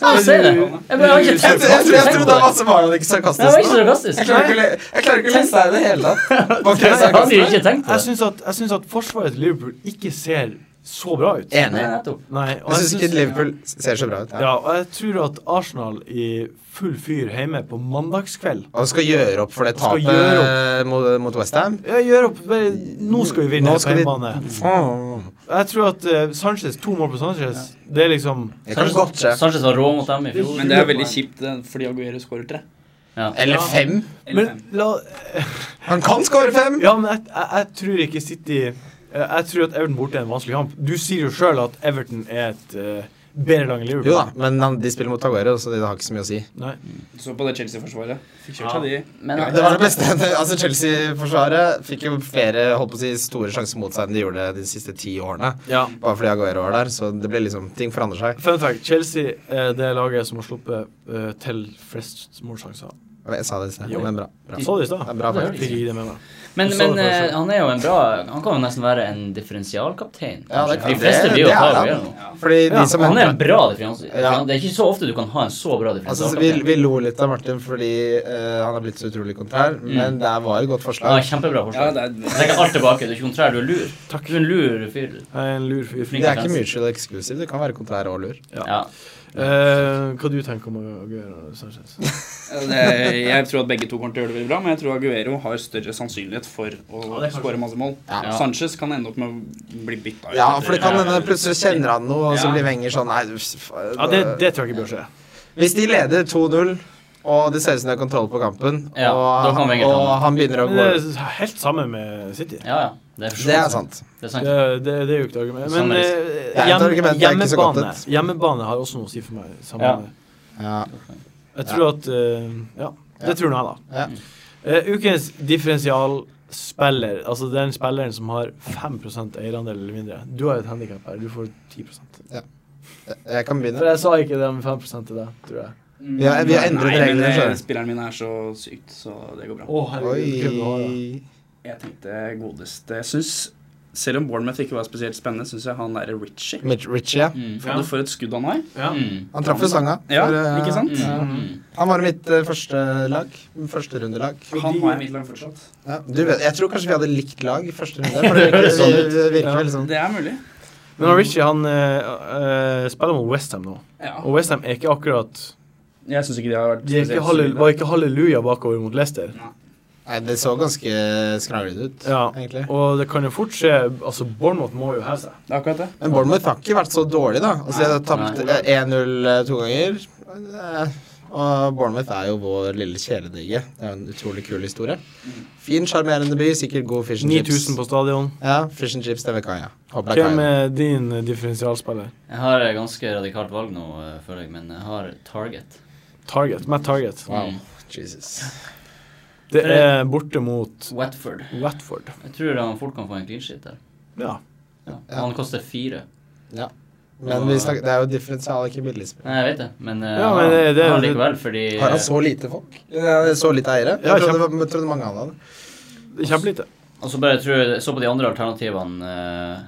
B: Ja, se det. Jeg bare har ikke
C: Jeg, tror-
B: tenkt
C: jeg, tror- jeg
B: på
C: trodde han var
B: det.
C: så var han ikke
B: Det var ikke
C: sarkastisk nå. Jeg
B: sarkastisk.
C: klarer ikke å le- jeg klarer ikke å lese deg i det hele tatt. Var ikke
B: Jeg
C: det
B: hadde jo
C: sarkastisk?
B: ikke tenkt på
A: Jeg
B: det.
A: syns at, jeg synes at forsvaret til Liverpool ikke ser så bra ut.
B: Nei,
C: Enig.
B: nettopp.
A: Nei, og
C: Jeg syns
A: synes-
C: ikke Liverpool ser så bra ut.
A: Ja, og jeg tror at Arsenal i full fyr hjemme på mandagskveld
C: Og skal gjøre opp for det
A: Skal gjøre
C: tapet mot, mot Westham.
A: Ja, gjør opp. bare- Nå skal vi vinne
C: Nå
A: på
C: skal vi-
A: hjemmebane. Jeg tror at eh, Sanchez, to mål på Sanchez, det er liksom
C: Det kan godt skje.
B: Sanchez var rå mot dem i fjor.
D: Men det er veldig kjipt eh, fordi Aguero scorer tre.
B: Ja.
C: Eller fem.
A: Men la
C: Han kan skåre fem!
A: Ja, men jeg, jeg, jeg tror ikke City eh, Jeg tror at Everton borte er en vanskelig kamp. Du sier jo sjøl at Everton er et eh, bedre lag enn Liverpool.
C: Jo da, men han, de spiller mot Aguero, så det har ikke så mye å si.
A: Nei.
D: Du så på det Chelsea-forsvaret. Fikk kjørt seg, de.
B: Men
D: Ja,
C: Det var det beste. Altså, Chelsea-forsvaret fikk jo flere holdt på å si, store sjanser mot seg enn de gjorde de siste ti årene.
A: Ja.
C: Bare fordi Aguero var der, så det ble liksom Ting forandrer seg.
A: Fun fact, Chelsea er det laget som har sluppet eh, til flest målsjanser.
C: Jeg sa det i sted,
A: Jo.
C: men bra. bra.
A: Jeg sa det i
C: Det
A: stad.
C: er bra
A: Fikk
C: faktisk.
A: ikke det med meg.
B: Men,
A: Du sa
B: men
A: det før,
B: eh,
A: så.
B: han er jo en bra Han kan jo nesten være en differensialkaptein.
C: Ja, det
B: kanskje.
C: kan-
B: De fleste
C: det-
B: blir jo
C: det er
B: tar
C: han.
B: Aguero.
C: Fordi de
A: Ja,
C: som
B: Han er en bra differensialkaptein.
C: Ja.
B: Det er ikke så ofte du kan ha en så bra
C: Altså, så vi,
B: differensialkaptein.
C: vi lo litt av Martin fordi eh, han er blitt så utrolig kontrær,
A: Mm.
C: men det var et godt
B: Han
C: forslag.
B: er kjempebra
D: Ja,
B: forslag.
D: det
B: Jeg
D: er,
B: tenker alt tilbake. Du er ikke kontrær, du er lur. Du er en lur fyr.
A: Jeg er en lur fyr.
B: Flink.
C: Det er ikke mutual exclusive. Det kan være kontrær og lur.
B: Ja.
A: Eh, hva du tenker om Aguero Sanchez?
D: det er, jeg tror at begge to kommer til å gjøre det veldig bra, men jeg tror Aguero har større sannsynlighet for å skåre masse mål.
C: Ja.
D: Sanchez kan ende opp med å bli bytta ut.
C: Ja, for det kan
D: etter-
C: hende plutselig kjenner han noe, og så
D: Ja.
C: blir Wenger sånn Nei, uff, faen,
A: Ja, det, det tror jeg ikke bør skje.
C: Hvis de leder 2-0, og det ser ut som de har kontroll på kampen,
B: Ja, da
C: og,
B: kan Wenger ta
C: og
B: den.
C: han begynner å
A: Men
C: gå
A: det er helt samme med City.
B: ja, ja. Det er, for så
C: Det
B: vidt
C: er sant.
B: Det er
A: Det,
B: sant.
A: det, det er jo ikke et argument. Men
B: Samme
A: eh,
C: er et
A: hjem,
C: argument, det er ikke så godt
A: hjemmebane,
C: et.
A: hjemmebane har også noe å si for meg. Sammen
B: Ja.
A: med
C: Ja.
A: Jeg tror at eh, Ja, det tror nå jeg, da.
C: Ja.
A: Eh, ukens differensialspiller, altså den spilleren som har 5 eierandel eller mindre Du har et handikap her, du får 10 For
C: Jeg kan begynne.
A: jeg sa ikke det med 5 til deg, tror jeg.
C: Vi har, vi har
D: Mm.
C: endret
D: Nei, men
C: reglene
D: det-
C: sjøl.
D: Spilleren min er så sykt, så det går bra.
A: Å, herregud.
C: Oi.
D: Jeg tenkte godeste Jeg syns, selv om Bournemouth ikke var spesielt spennende, syns jeg han derre Ritchie
C: Mitch Ritchie. ja.
B: Mm.
D: For for et skudd han har.
A: Ja.
B: Mm.
C: Han traff jo sanga.
D: Ja,
C: for, eh,
D: ikke sant?
B: Mm. Mm.
C: Han var i mitt eh, første lag. Første rundelag.
D: Han har jeg i mitt lag fortsatt.
C: Ja. Du vet, jeg tror kanskje vi hadde likt lag i første runde. For det virker,
A: Sånn.
C: det virker veldig sånn.
D: Det er mulig.
A: Men han Richie han eh, eh, spiller mot Westham nå,
D: Ja.
A: og Westham er ikke akkurat
D: Jeg syns ikke de har vært
A: De er ikke halle- var ikke halleluja bakover mot Leicester.
C: Nei, det så ganske skranglete ut,
A: Ja.
C: egentlig.
A: Og det kan jo fort skje Altså, Bournemouth må jo heve seg.
D: Det er akkurat det.
C: Men Bournemouth har ikke vært så dårlig, da. Altså, de har tapt
B: Nei.
C: eh, 1-0 eh, to ganger. Eh, Og Bournemouth er jo vår lille kjæledegge. Det er jo en utrolig kul historie. Fin, sjarmerende by. Sikkert god fish and chips.
A: 9000 på stadion.
C: Ja, fish and chips, det vet Kaja. Håper det er
A: Hvem
C: Kaja.
A: er din eh, differensialspiller?
B: Jeg har et ganske radikalt valg nå, eh, føler jeg, men jeg har Target. Mm.
A: Target. Matt Target.
C: Wow, Jesus.
A: Det er borte mot
B: Watford.
A: Watford.
B: Jeg tror han fort kan få en clean sheet der.
A: Ja.
B: Ja.
C: Ja.
B: Han koster fire.
C: Ja. Men vi snakker, det er jo differensial, ikke billigspill.
B: Nei, jeg vet det, men eh,
A: Ja,
B: han-
A: men det- det-
B: han likevel, fordi
C: Har han så lite folk? Ja, så lite eiere?
A: Ja,
C: Jeg trodde, jeg trodde mange hadde det.
A: Kjempelite.
B: eh, Og så bare tror jeg så på de andre alternativene eh,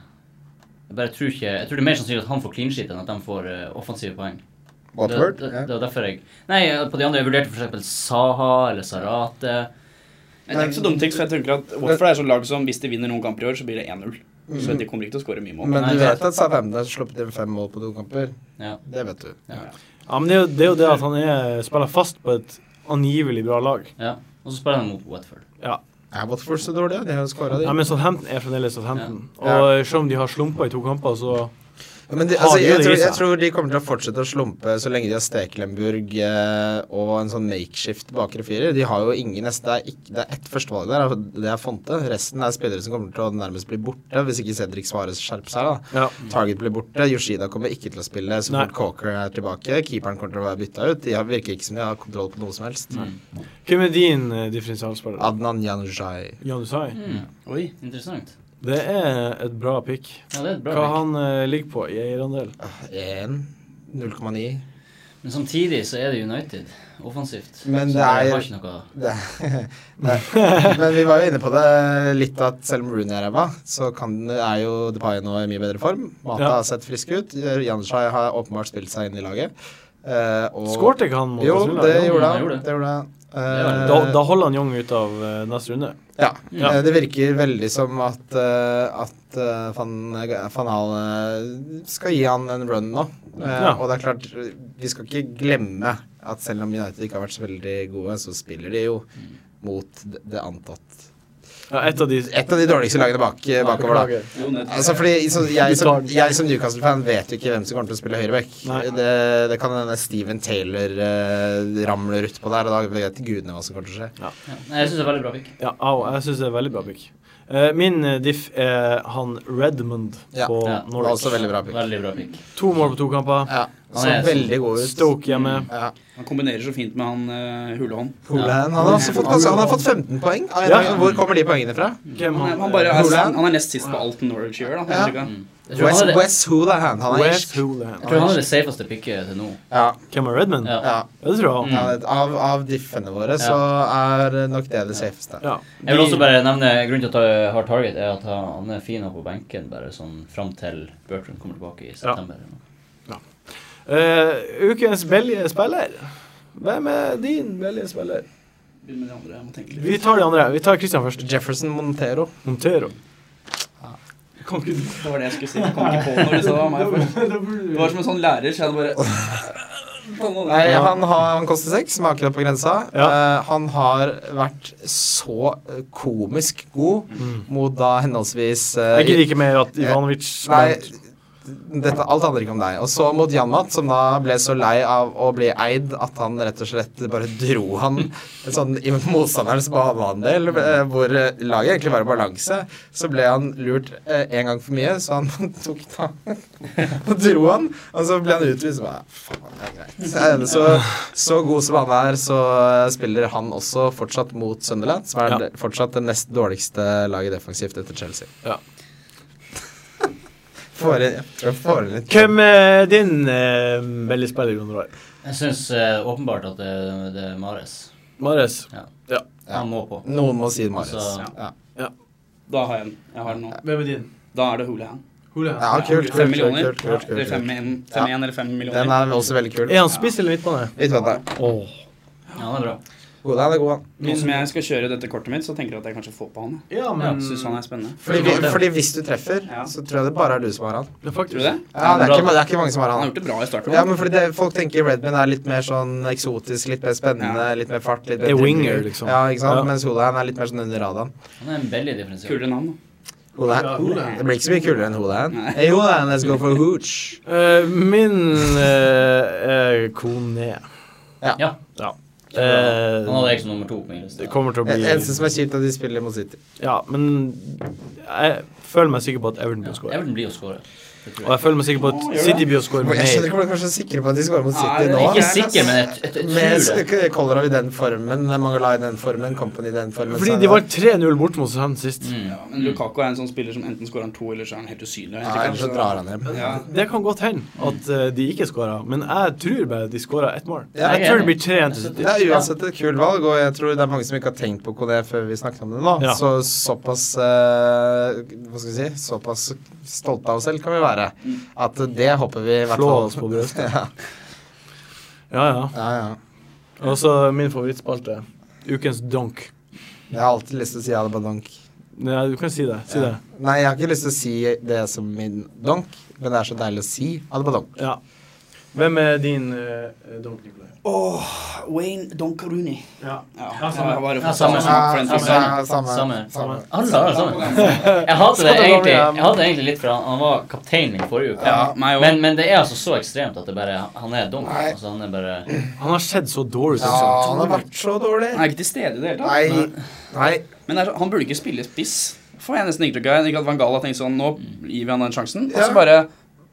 B: Jeg bare tror ikke Jeg tror det er mer sannsynlig at han får clean sheet enn at de får eh, offensive poeng.
C: Watford?
B: Det, det,
C: Ja.
B: det var derfor jeg Nei, eh, på de andre jeg vurderte f.eks. Saha eller Sarate.
D: Men det er ikke så dumt, tips, for jeg tenker at Watford er et sånt lag som hvis de vinner noen kamper i år, så blir det 1-0.
C: Mm.
D: Så de kommer ikke til å skåre mye mål.
C: Men
B: Nei,
C: du
B: det-
C: vet at Southampton har sluppet inn fem mål på to kamper?
B: Ja.
C: Det vet du.
A: Ja, men det er, jo, det er jo det at han er, spiller fast på et angivelig bra lag.
B: ja. Og så spiller de mot Watford.
C: Er Watford så dårlig? De har jo skåra, de.
A: Ja, men Southampton er fremdeles Southampton.
C: Ja.
A: Og eh, selv om de har slumpa i to kamper, så
C: Ja, Men de,
A: Har
C: altså,
A: de jo
C: jeg,
A: det i
C: tror,
A: seg?
C: jeg tror de kommer til å fortsette å slumpe så lenge de har Stekelenburg eh, og en sånn makeshift bakre firer. De har jo ingen neste. Det er, ikke, det er ett førstevalg der, og det er Fonte. Resten er spillere som kommer til å nærmest bli borte, hvis ikke Cedric Svares skjerper seg. da.
A: Ja.
C: Target blir borte, Yoshida kommer ikke til å spille så
A: Nei.
C: fort Cocker er tilbake. Keeperen kommer til å være bytta ut. De har, virker ikke som de har kontroll på noe som helst.
A: Hvem er din eh, differensialspiller?
C: Adnan Januzaj.
A: Jan Usai?
B: Mm.
D: Oi.
B: Interessant.
A: Det er et bra pick.
B: Ja, det er et bra
A: Hva
B: pick.
A: han eh, ligger på i eierandel?
C: 1. 0,9.
B: Men samtidig så er det United offensivt.
C: Men
B: så
C: det er-
B: jeg har ikke noe
C: Det er- Nei. Men vi var jo inne på det litt at selv om Rooney er ræva, så kan, er jo Depay nå i mye bedre form. Mata
A: Ja.
C: har sett frisk ut. Januzaj har åpenbart spilt seg inn i laget. Eh, og
A: Skårte ikke han mot
C: Jo,
A: Aston Villa?
C: det
B: Jo,
C: gjorde
B: han gjorde
C: han.
B: det.
C: Det gjorde han.
B: var-
C: Eh,
A: Da, da holder han Young ut av eh, neste runde.
C: Ja.
A: Ja.
C: eh, Det virker veldig som at, eh, at eh, van, van Hal eh, skal gi han en run nå. Eh,
A: Ja.
C: Og det er klart, eh, vi skal ikke glemme at selv om United ikke har vært så veldig gode, så spiller de jo mot det, det antatt
A: Ja, et av de
C: Et av de dårligste lagene bak, eh, bakover, da.
D: Jo, nettopp.
C: Altså fordi så jeg,
A: Beklager.
C: som, jeg som Newcastle-fan vet jo ikke hvem som kommer til å spille høyreback.
A: Nei.
C: Det, det kan hende Steven Taylor eh, ramler utpå der, og da vet gudene hva som kommer til å skje.
B: ja. Nei, jeg syns det er veldig bra pick.
A: Ja, au, jeg syns det er veldig bra pick. Eh, min eh, diff er han Redmond
C: Ja.
A: på
B: Ja,
C: Det var
A: Norwich.
C: også veldig bra pick.
B: Veldig bra pick.
A: To mål på to kamper.
C: Ja,
B: Han
C: så
B: er
C: veldig god ut. Mm.
A: Stoke hjemme.
C: Ja.
D: Han kombinerer så fint med han uh, Hulehånd.
C: Holand, han har også fått, ganske- han har fått 15 poeng. Av en
A: Ja.
C: eller annen- Hvor kommer de poengene fra?
A: Hvem
D: Han, er-
A: han?
D: han, bare, er-
C: Hulahan?
D: han er nest sist på alt Norwich gjør, da.
C: Ja.
D: Jeg tror ikke-
B: Mm. Jeg, tror han
C: West,
B: er det,
C: West Hoolahan. Han er
A: West
C: irsk.
A: Hoolahan.
B: jeg tror han er det safeste picket til nå.
C: Ja,
A: Hvem er Redmond? Ja.
B: Ja.
C: ja.
A: det tror jeg. han.
B: Mm.
C: ja det- av, av diffene våre så er nok det det safeste.
A: Ja.
B: Jeg vil også bare nevne grunnen til at jeg har Target, er at han er fin på benken bare sånn fram til Bertrand kommer tilbake i september. eller noe.
A: Eh, ukens billige spiller. Hvem er din billige spiller?
D: Begynn med de andre, jeg må tenke litt.
A: Vi tar de andre. Vi tar Christian først.
C: Jefferson Montero.
A: Montero.
D: Det var det jeg skulle si. Jeg kom ikke på når du sa meg først. Det var som en sånn lærer, så jeg hadde bare
C: Nei, han, har, han koster seks, smaker akkurat på grensa.
A: Ja.
C: Eh, han har vært så eh, komisk god
A: Mm.
C: mot da henholdsvis eh,
A: Jeg gidder ikke mer at Ivanovic
C: Nei,
A: vant.
C: dette, alt handler ikke om deg. Og så mot Janmat, som da ble så lei av å bli eid at han rett og slett bare dro han sånn i motstanderens banehandel, eh, hvor eh, laget egentlig var i balanse. Så ble han lurt eh, en gang for mye, så han tok da og dro han. Og så ble han utvist. Så bare, faen, det er greit. Eh, Så, så god som han er, så eh, spiller han også fortsatt mot Sunderland, som er
A: Ja.
C: fortsatt det nest dårligste laget defensivt etter Chelsea.
A: Ja.
C: Får en- jeg tror jeg får en litt
A: Hvem er din eh, billige spiller, Jon Roar?
B: Jeg syns åpenbart at det, det er Mares.
A: Mares.
C: Ja.
B: Han må på.
C: Noen må si Marius.
B: Altså,
C: ja.
D: Da har jeg den. Jeg har den nå.
A: Hvem er din?
D: Da er det Hulahan.
C: ja, kult.
D: Fem
C: kult, kult,
D: millioner.
C: kult, kult,
D: Eller
C: kult,
D: fem,
C: kult.
D: en- fem en eller fem
C: Den
D: millioner.
C: er også veldig kul.
A: Er han spiss eller midtbane?
C: Litt vann, da.
A: Oh.
B: Ja, han er bra.
C: God, han er god, han.
D: Nå som jeg skal kjøre dette kortet mitt, så tenker jeg at jeg kanskje får på han.
A: Ja,
B: men-
D: Jeg synes han er spennende.
C: Fordi, vi- fordi hvis du treffer,
D: Ja.
C: så tror jeg det bare er du som har han.
A: Det er
D: Tror
A: faktisk
D: du det?
C: Ja, det er ikke, det er ikke mange som har
D: Han har
C: han.
D: gjort det bra i starten.
C: Ja, men fordi det, Folk tenker Redman er litt mer sånn eksotisk, litt mer spennende,
D: Ja.
C: litt mer fart. litt
A: Det er
C: mer dribbling.
A: winger, liksom.
C: Ja, ikke sant?
A: Ja.
C: Mens Holahan er litt mer sånn under radaren.
B: Han er en veldig differensial.
D: Kulere navn, da.
A: Ja,
C: Holahan.
A: Holahan.
C: Det blir ikke så mye kulere enn Holahan.
D: Nei.
C: Hey, Holahan, let's go for hooch.
A: Eh, min eh, er Kone.
B: Ja.
A: Ja.
B: Han hadde jeg som nummer to på min liste.
A: det kommer til å
C: Det
A: bli
C: eneste som er kjipt, er at de spiller mot City.
A: Ja, men jeg føler meg sikker på at Everton
B: Ja,
A: blir å score.
B: Everton blir å score. Det
A: Og
B: tror jeg.
A: jeg føler meg sikker på at City blir å score
C: Jeg skjønner
A: mer.
C: ikke hvordan de er så sikre på at de skårer mot
D: Nei,
C: City
D: det er
C: nå.
B: Jeg er ikke
C: ass.
B: sikker, men jeg, jeg, jeg,
C: Med
B: tror det.
C: sk- Kolarov i den formen, Mangala i den formen, Company i den formen
A: Fordi
C: så er
A: de
C: det-
A: vant 3-0 bort mot Sand sist.
B: Mm.
D: Ja, men Lukaku er en sånn spiller som enten skårer han to, eller så er han helt usynlig. Jeg
C: ja,
D: tenker
C: Ellers så
D: kanskje-
C: drar han hjem.
D: Ja.
A: Det kan godt hende at eh, de ikke skåra, men jeg tror bare de skåra ett mål.
C: Ja,
A: Jeg
B: jeg
A: tror
B: er
A: det blir 3-1 til City.
C: Det er uansett et kult valg, og jeg tror det er mange som ikke har tenkt på KD før vi snakket om det nå.
A: Ja.
C: Så såpass eh, Hva skal vi si Såpass stolte av oss selv kan vi være. At det håper vi i hvert
A: Slå
C: fall
A: oss på brystet.
C: ja,
A: Ja, ja.
C: ja, ja.
A: Og så min favorittspalte. Ukens donk.
C: Jeg har alltid lyst til å si Adebadank.
A: Ja, du kan si det. Si det.
C: Nei, jeg har ikke lyst til å si det som min donk, men det er så deilig å si Adebadank.
A: Ja. Hvem er din eh, donk, Nikolai?
D: Åh, Wayne Donkaruni.
A: Ja.
D: Ja, altså,
A: Ja, samme.
D: jeg var jo
B: Ja,
D: for-
B: samme.
D: smak for den
B: Ja,
D: typen.
B: samme.
C: samme,
B: Samme.
C: samme.
B: Alle har det samme. Jeg hater det
A: Samme gamle,
B: egentlig,
A: ja.
B: jeg hater det egentlig litt, for han, han var kapteinen min forrige uke.
D: Ja, meg også.
B: men, men det er altså så ekstremt at det bare Han er dum.
C: Nei.
B: Altså, han er bare
A: Han har sett så dårlig ut.
C: Ja, han har vært så dårlig.
D: Han er ikke til stede i det hele tatt.
C: Nei. Nei.
D: Men det er så- han burde ikke spille spiss. Får jeg nesten inntrykk av. Ikke at Van Gala tenkte sånn Nå gir vi han den sjansen. Og
C: Ja.
D: så bare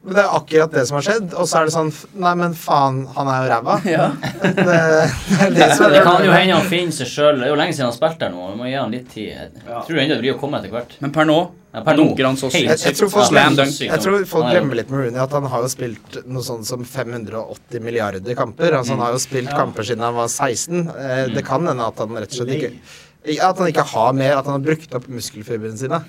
C: Men det er akkurat det som har skjedd. Og så er det sånn f- Nei, men faen, han er jo ræva.
D: Ja.
C: Det, det er eh, det som er
B: Det kan jo hende han finner seg sjøl. Det er jo lenge siden han spilte her nå. Vi må gi han litt tid. Jeg tror ennå det blir å komme etter hvert.
D: Men per nå
B: Ja, per nå.
D: dunker han så
B: Hei.
C: jeg,
D: sykt.
C: jeg, tror folk,
D: Slam dunk.
C: jeg tror folk
B: Han er-
C: glemmer litt med Rooney at han har jo spilt noe sånn som 580 milliarder kamper. Altså Han har jo spilt kamper siden han var 16. Eh, Det kan hende at han rett og slett ikke ja, At han ikke har mer, at han har brukt opp muskelfibrene sine.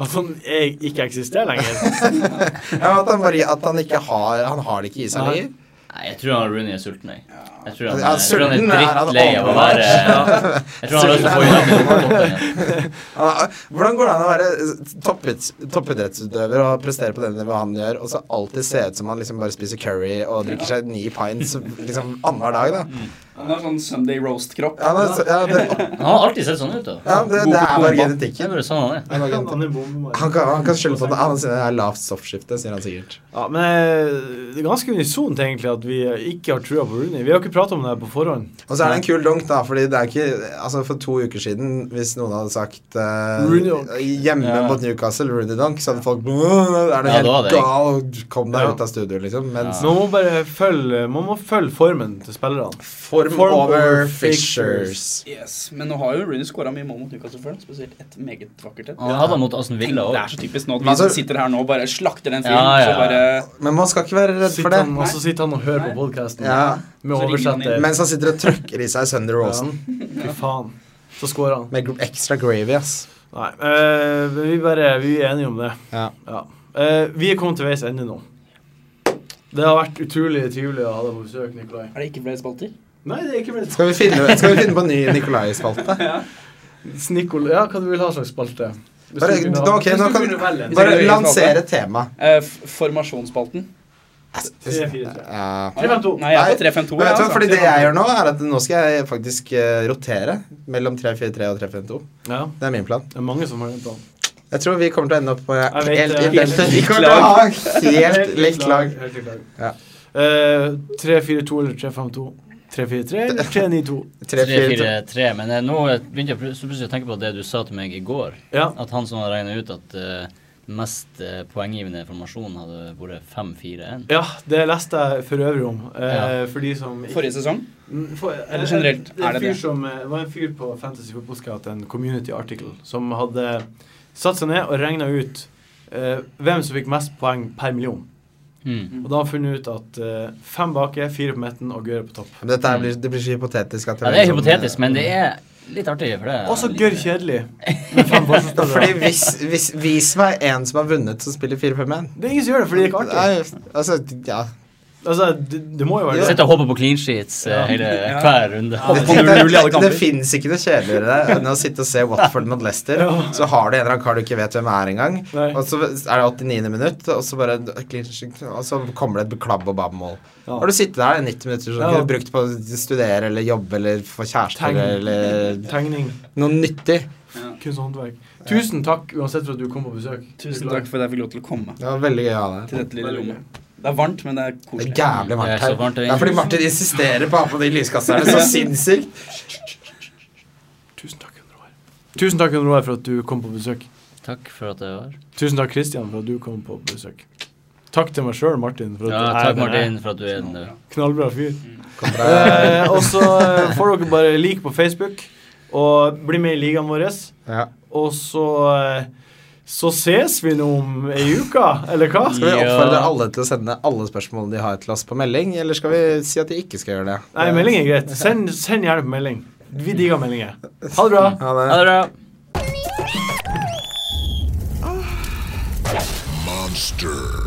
A: At han er- ikke eksisterer lenger.
C: Ja, at, han bare, at han ikke har Han har det ikke i seg
A: Nei.
C: lenger.
B: Nei, jeg tror han Rooney er sulten, jeg. Jeg tror han,
C: Ja,
B: jeg tror han
C: sulten er
B: er
C: han
B: drittlei av å være Jeg tror han har lyst til å få i dag på toppen igjen.
C: Han er- Hvordan går det an å være toppid- toppidrettsutøver og prestere på det nivået han gjør, og så alltid se ut som han liksom bare spiser curry og drikker seg ni pints liksom annenhver dag, da?
D: Han har sånn Sunday Roast-kropp.
C: Ja, det, ja, det,
B: Han har alltid sett sånn ut, da.
C: ja, det, det er bare genetikken.
B: Det er bare sånn han er.
C: Han kan,
A: Han er bombemann.
C: han kan, han kan skylde på det. Han sier det er lavt softskifte, sier han sikkert.
A: Ja, men eh, det er ganske unisont egentlig at vi ikke har trua på Rooney. Vi har ikke prata om det her på forhånd.
C: Og så er det en kul donk, da, fordi det er ikke Altså, for to uker siden, hvis noen hadde sagt eh,
A: Rooney donk.
C: hjemme
B: Ja.
C: mot Newcastle, Rooney donk, så hadde folk «Åh, Er du
B: Ja, da
C: helt
B: hadde jeg-
C: gal? Kom deg
A: Ja.
C: ut av studio, liksom. Mens
B: Ja.
A: Man må bare følge, man må følge formen til spillerne.
C: form,
A: Form
C: over
A: over
C: fishers.
D: Yes, Men nå har jo Rooney skåra mye mål mot Newcastle før. Spesielt et meget vakkert et.
B: Han hadde han mot Aston
D: Tenk,
B: Villa
D: det
B: òg.
D: er så typisk nå at vi
C: Altså-
D: som sitter her nå, bare slakter den fyren.
B: Ja, ja,
D: Så bare
C: Men man skal ikke være redd for
A: Sitter
C: det.
A: han, og så sitter han og hører på podkasten
C: Ja.
A: med
D: Så ringer han
A: oversetter.
D: inn.
A: Men
C: Mens han sitter og trøkker i seg Sunder Rawson
A: fy faen, så scorer han.
C: med gr- extra gravy, ass.
A: Nei, eh, vi, bare, vi er enige om det.
C: Ja.
A: Ja. Eh, vi er kommet til veis ende nå. Det har vært utrolig trivelig å ha deg på besøk, Nikolai.
D: Er det ikke flere spalter?
A: Nei, det er ikke vel
C: Skal vi finne, skal vi finne på en ny Nikolai-spalte?
A: Snikol... Ja, hva du vil ha slags spalte? Hvis
C: Bare-
A: du kunne
C: da-
A: ha-
C: ok,
A: hvis
C: nå
A: du
C: kan-
A: kunne velge en.
C: Bare lansere tema.
D: Eh, f- formasjonsspalten.
A: Tre, fire, tre.
C: Ja.
A: Tre, fem, to.
D: Nei, jeg er på
C: Nei,
D: 3-5-2. jeg,
C: Men vet du hva,
D: altså.
C: fordi det jeg gjør nå, er at nå skal jeg faktisk eh, rotere mellom 3-4-3 og 3-5-2.
A: Ja,
C: Det er min plan.
A: det er mange som har den planen.
C: Jeg tror vi kommer til å ende opp på
A: Jeg vet,
C: helt
A: eh,
C: identisk.
A: helt
C: Vi kommer til å ha helt likt lag.
A: Helt likt lag.
C: Ja.
A: Eh, 3-4-2 eller 3-5-2? 3-4-3 eller 3-9-2?
C: 3-4-3.
B: 3-4-3, men eh, nå begynte jeg pl- så plutselig å tenke på det du sa til meg i går.
A: Ja.
B: At han som hadde regna ut at eh, mest eh, poenggivende formasjon hadde vært 5-4-1.
A: ja, det leste jeg for øvrig om. Eh,
B: Ja.
A: For de som ikke-
D: Forrige sesong.
A: Mm, for- eh,
D: Eller generelt,
A: det? er
D: er
A: en
D: det
A: fyr
D: det?
A: som, eh, Det var en fyr på Fantasy Football Scout, en community article, som hadde satt seg ned og regna ut eh, hvem som fikk mest poeng per million.
D: Hmm.
B: Mm.
A: Og da har han funnet ut at eh, fem bak er fire på midten og Gøre på topp.
C: Men Dette her blir,
A: Mm.
C: det blir så hypotetisk. At liksom-
B: Ja, det er hypotetisk, men det er litt artig. for det er
A: Og så
B: litt-
A: Gørr kjedelig. med fem forsvarsspillere.
C: Fordi hvis, hvis, Vis meg en som har vunnet, som spiller 4-5-1.
A: Det er ingen som gjør det, fordi det er ikke artig.
C: Nei, Altså, ja.
A: Altså, det, det må jo være det.
B: Sitter og håper på clean sheets eh,
A: Ja.
B: hele,
D: Ja.
B: hver runde.
D: Ja,
C: Det,
D: det
C: det,
D: kommer
C: det,
D: null i alle
C: det,
D: kamper.
C: fins ikke noe kjedeligere enn å sitte og se Watford mot Leicester.
A: Ja.
C: Så har du en eller annen kar du ikke vet hvem er engang.
A: Nei.
C: Og så er det 89. minutt, og så, bare, og så kommer det et klabb og babb-mål.
A: Ja.
C: Har du sittet der i 90 minutter som
A: Ja.
C: kunne brukt på å studere eller jobbe eller få kjæreste
A: Tegn.
C: eller
A: Eh, Tegning,
C: noe nyttig?
A: kunst og håndverk. Tusen takk uansett for at du kom på besøk.
D: Tusen takk for at jeg fikk lov til å komme
C: Det var veldig gøy å ha deg.
D: til dette lille rommet. Det er varmt, men det er
C: Det er
D: koselig.
C: jævlig
B: Det er
C: varmt
B: så
C: her.
B: varmt, det er
C: Det er fordi
B: ingen-
C: Martin insisterer på å ha på de lyskasterne så sinnssykt.
A: Tusen takk, Jon Roar. Tusen takk, Jon Roar, for at du kom på besøk.
B: Takk for at jeg var her.
A: Tusen takk, Kristian, for at du kom på besøk. Takk til meg sjøl, Martin. For at
B: Ja,
A: jeg er
B: takk,
A: den jeg er.
B: Martin, for at du er en
A: Knallbra fyr.
C: Kommer det-
A: Eh, og så eh, får dere bare like på Facebook, og bli med i ligaen vår.
C: Ja.
A: Og så eh, Så ses vi nå om ei uke, eller hva?
C: Skal vi
B: Ja.
C: oppfordre alle til å sende alle spørsmålene de har til oss på melding, eller skal vi si at de ikke skal gjøre det?
A: Nei, melding er greit. Send, send gjerne på melding. Vi digger meldinger. Ha det bra.
C: Ha det.
B: Ha det bra.
E: Monster.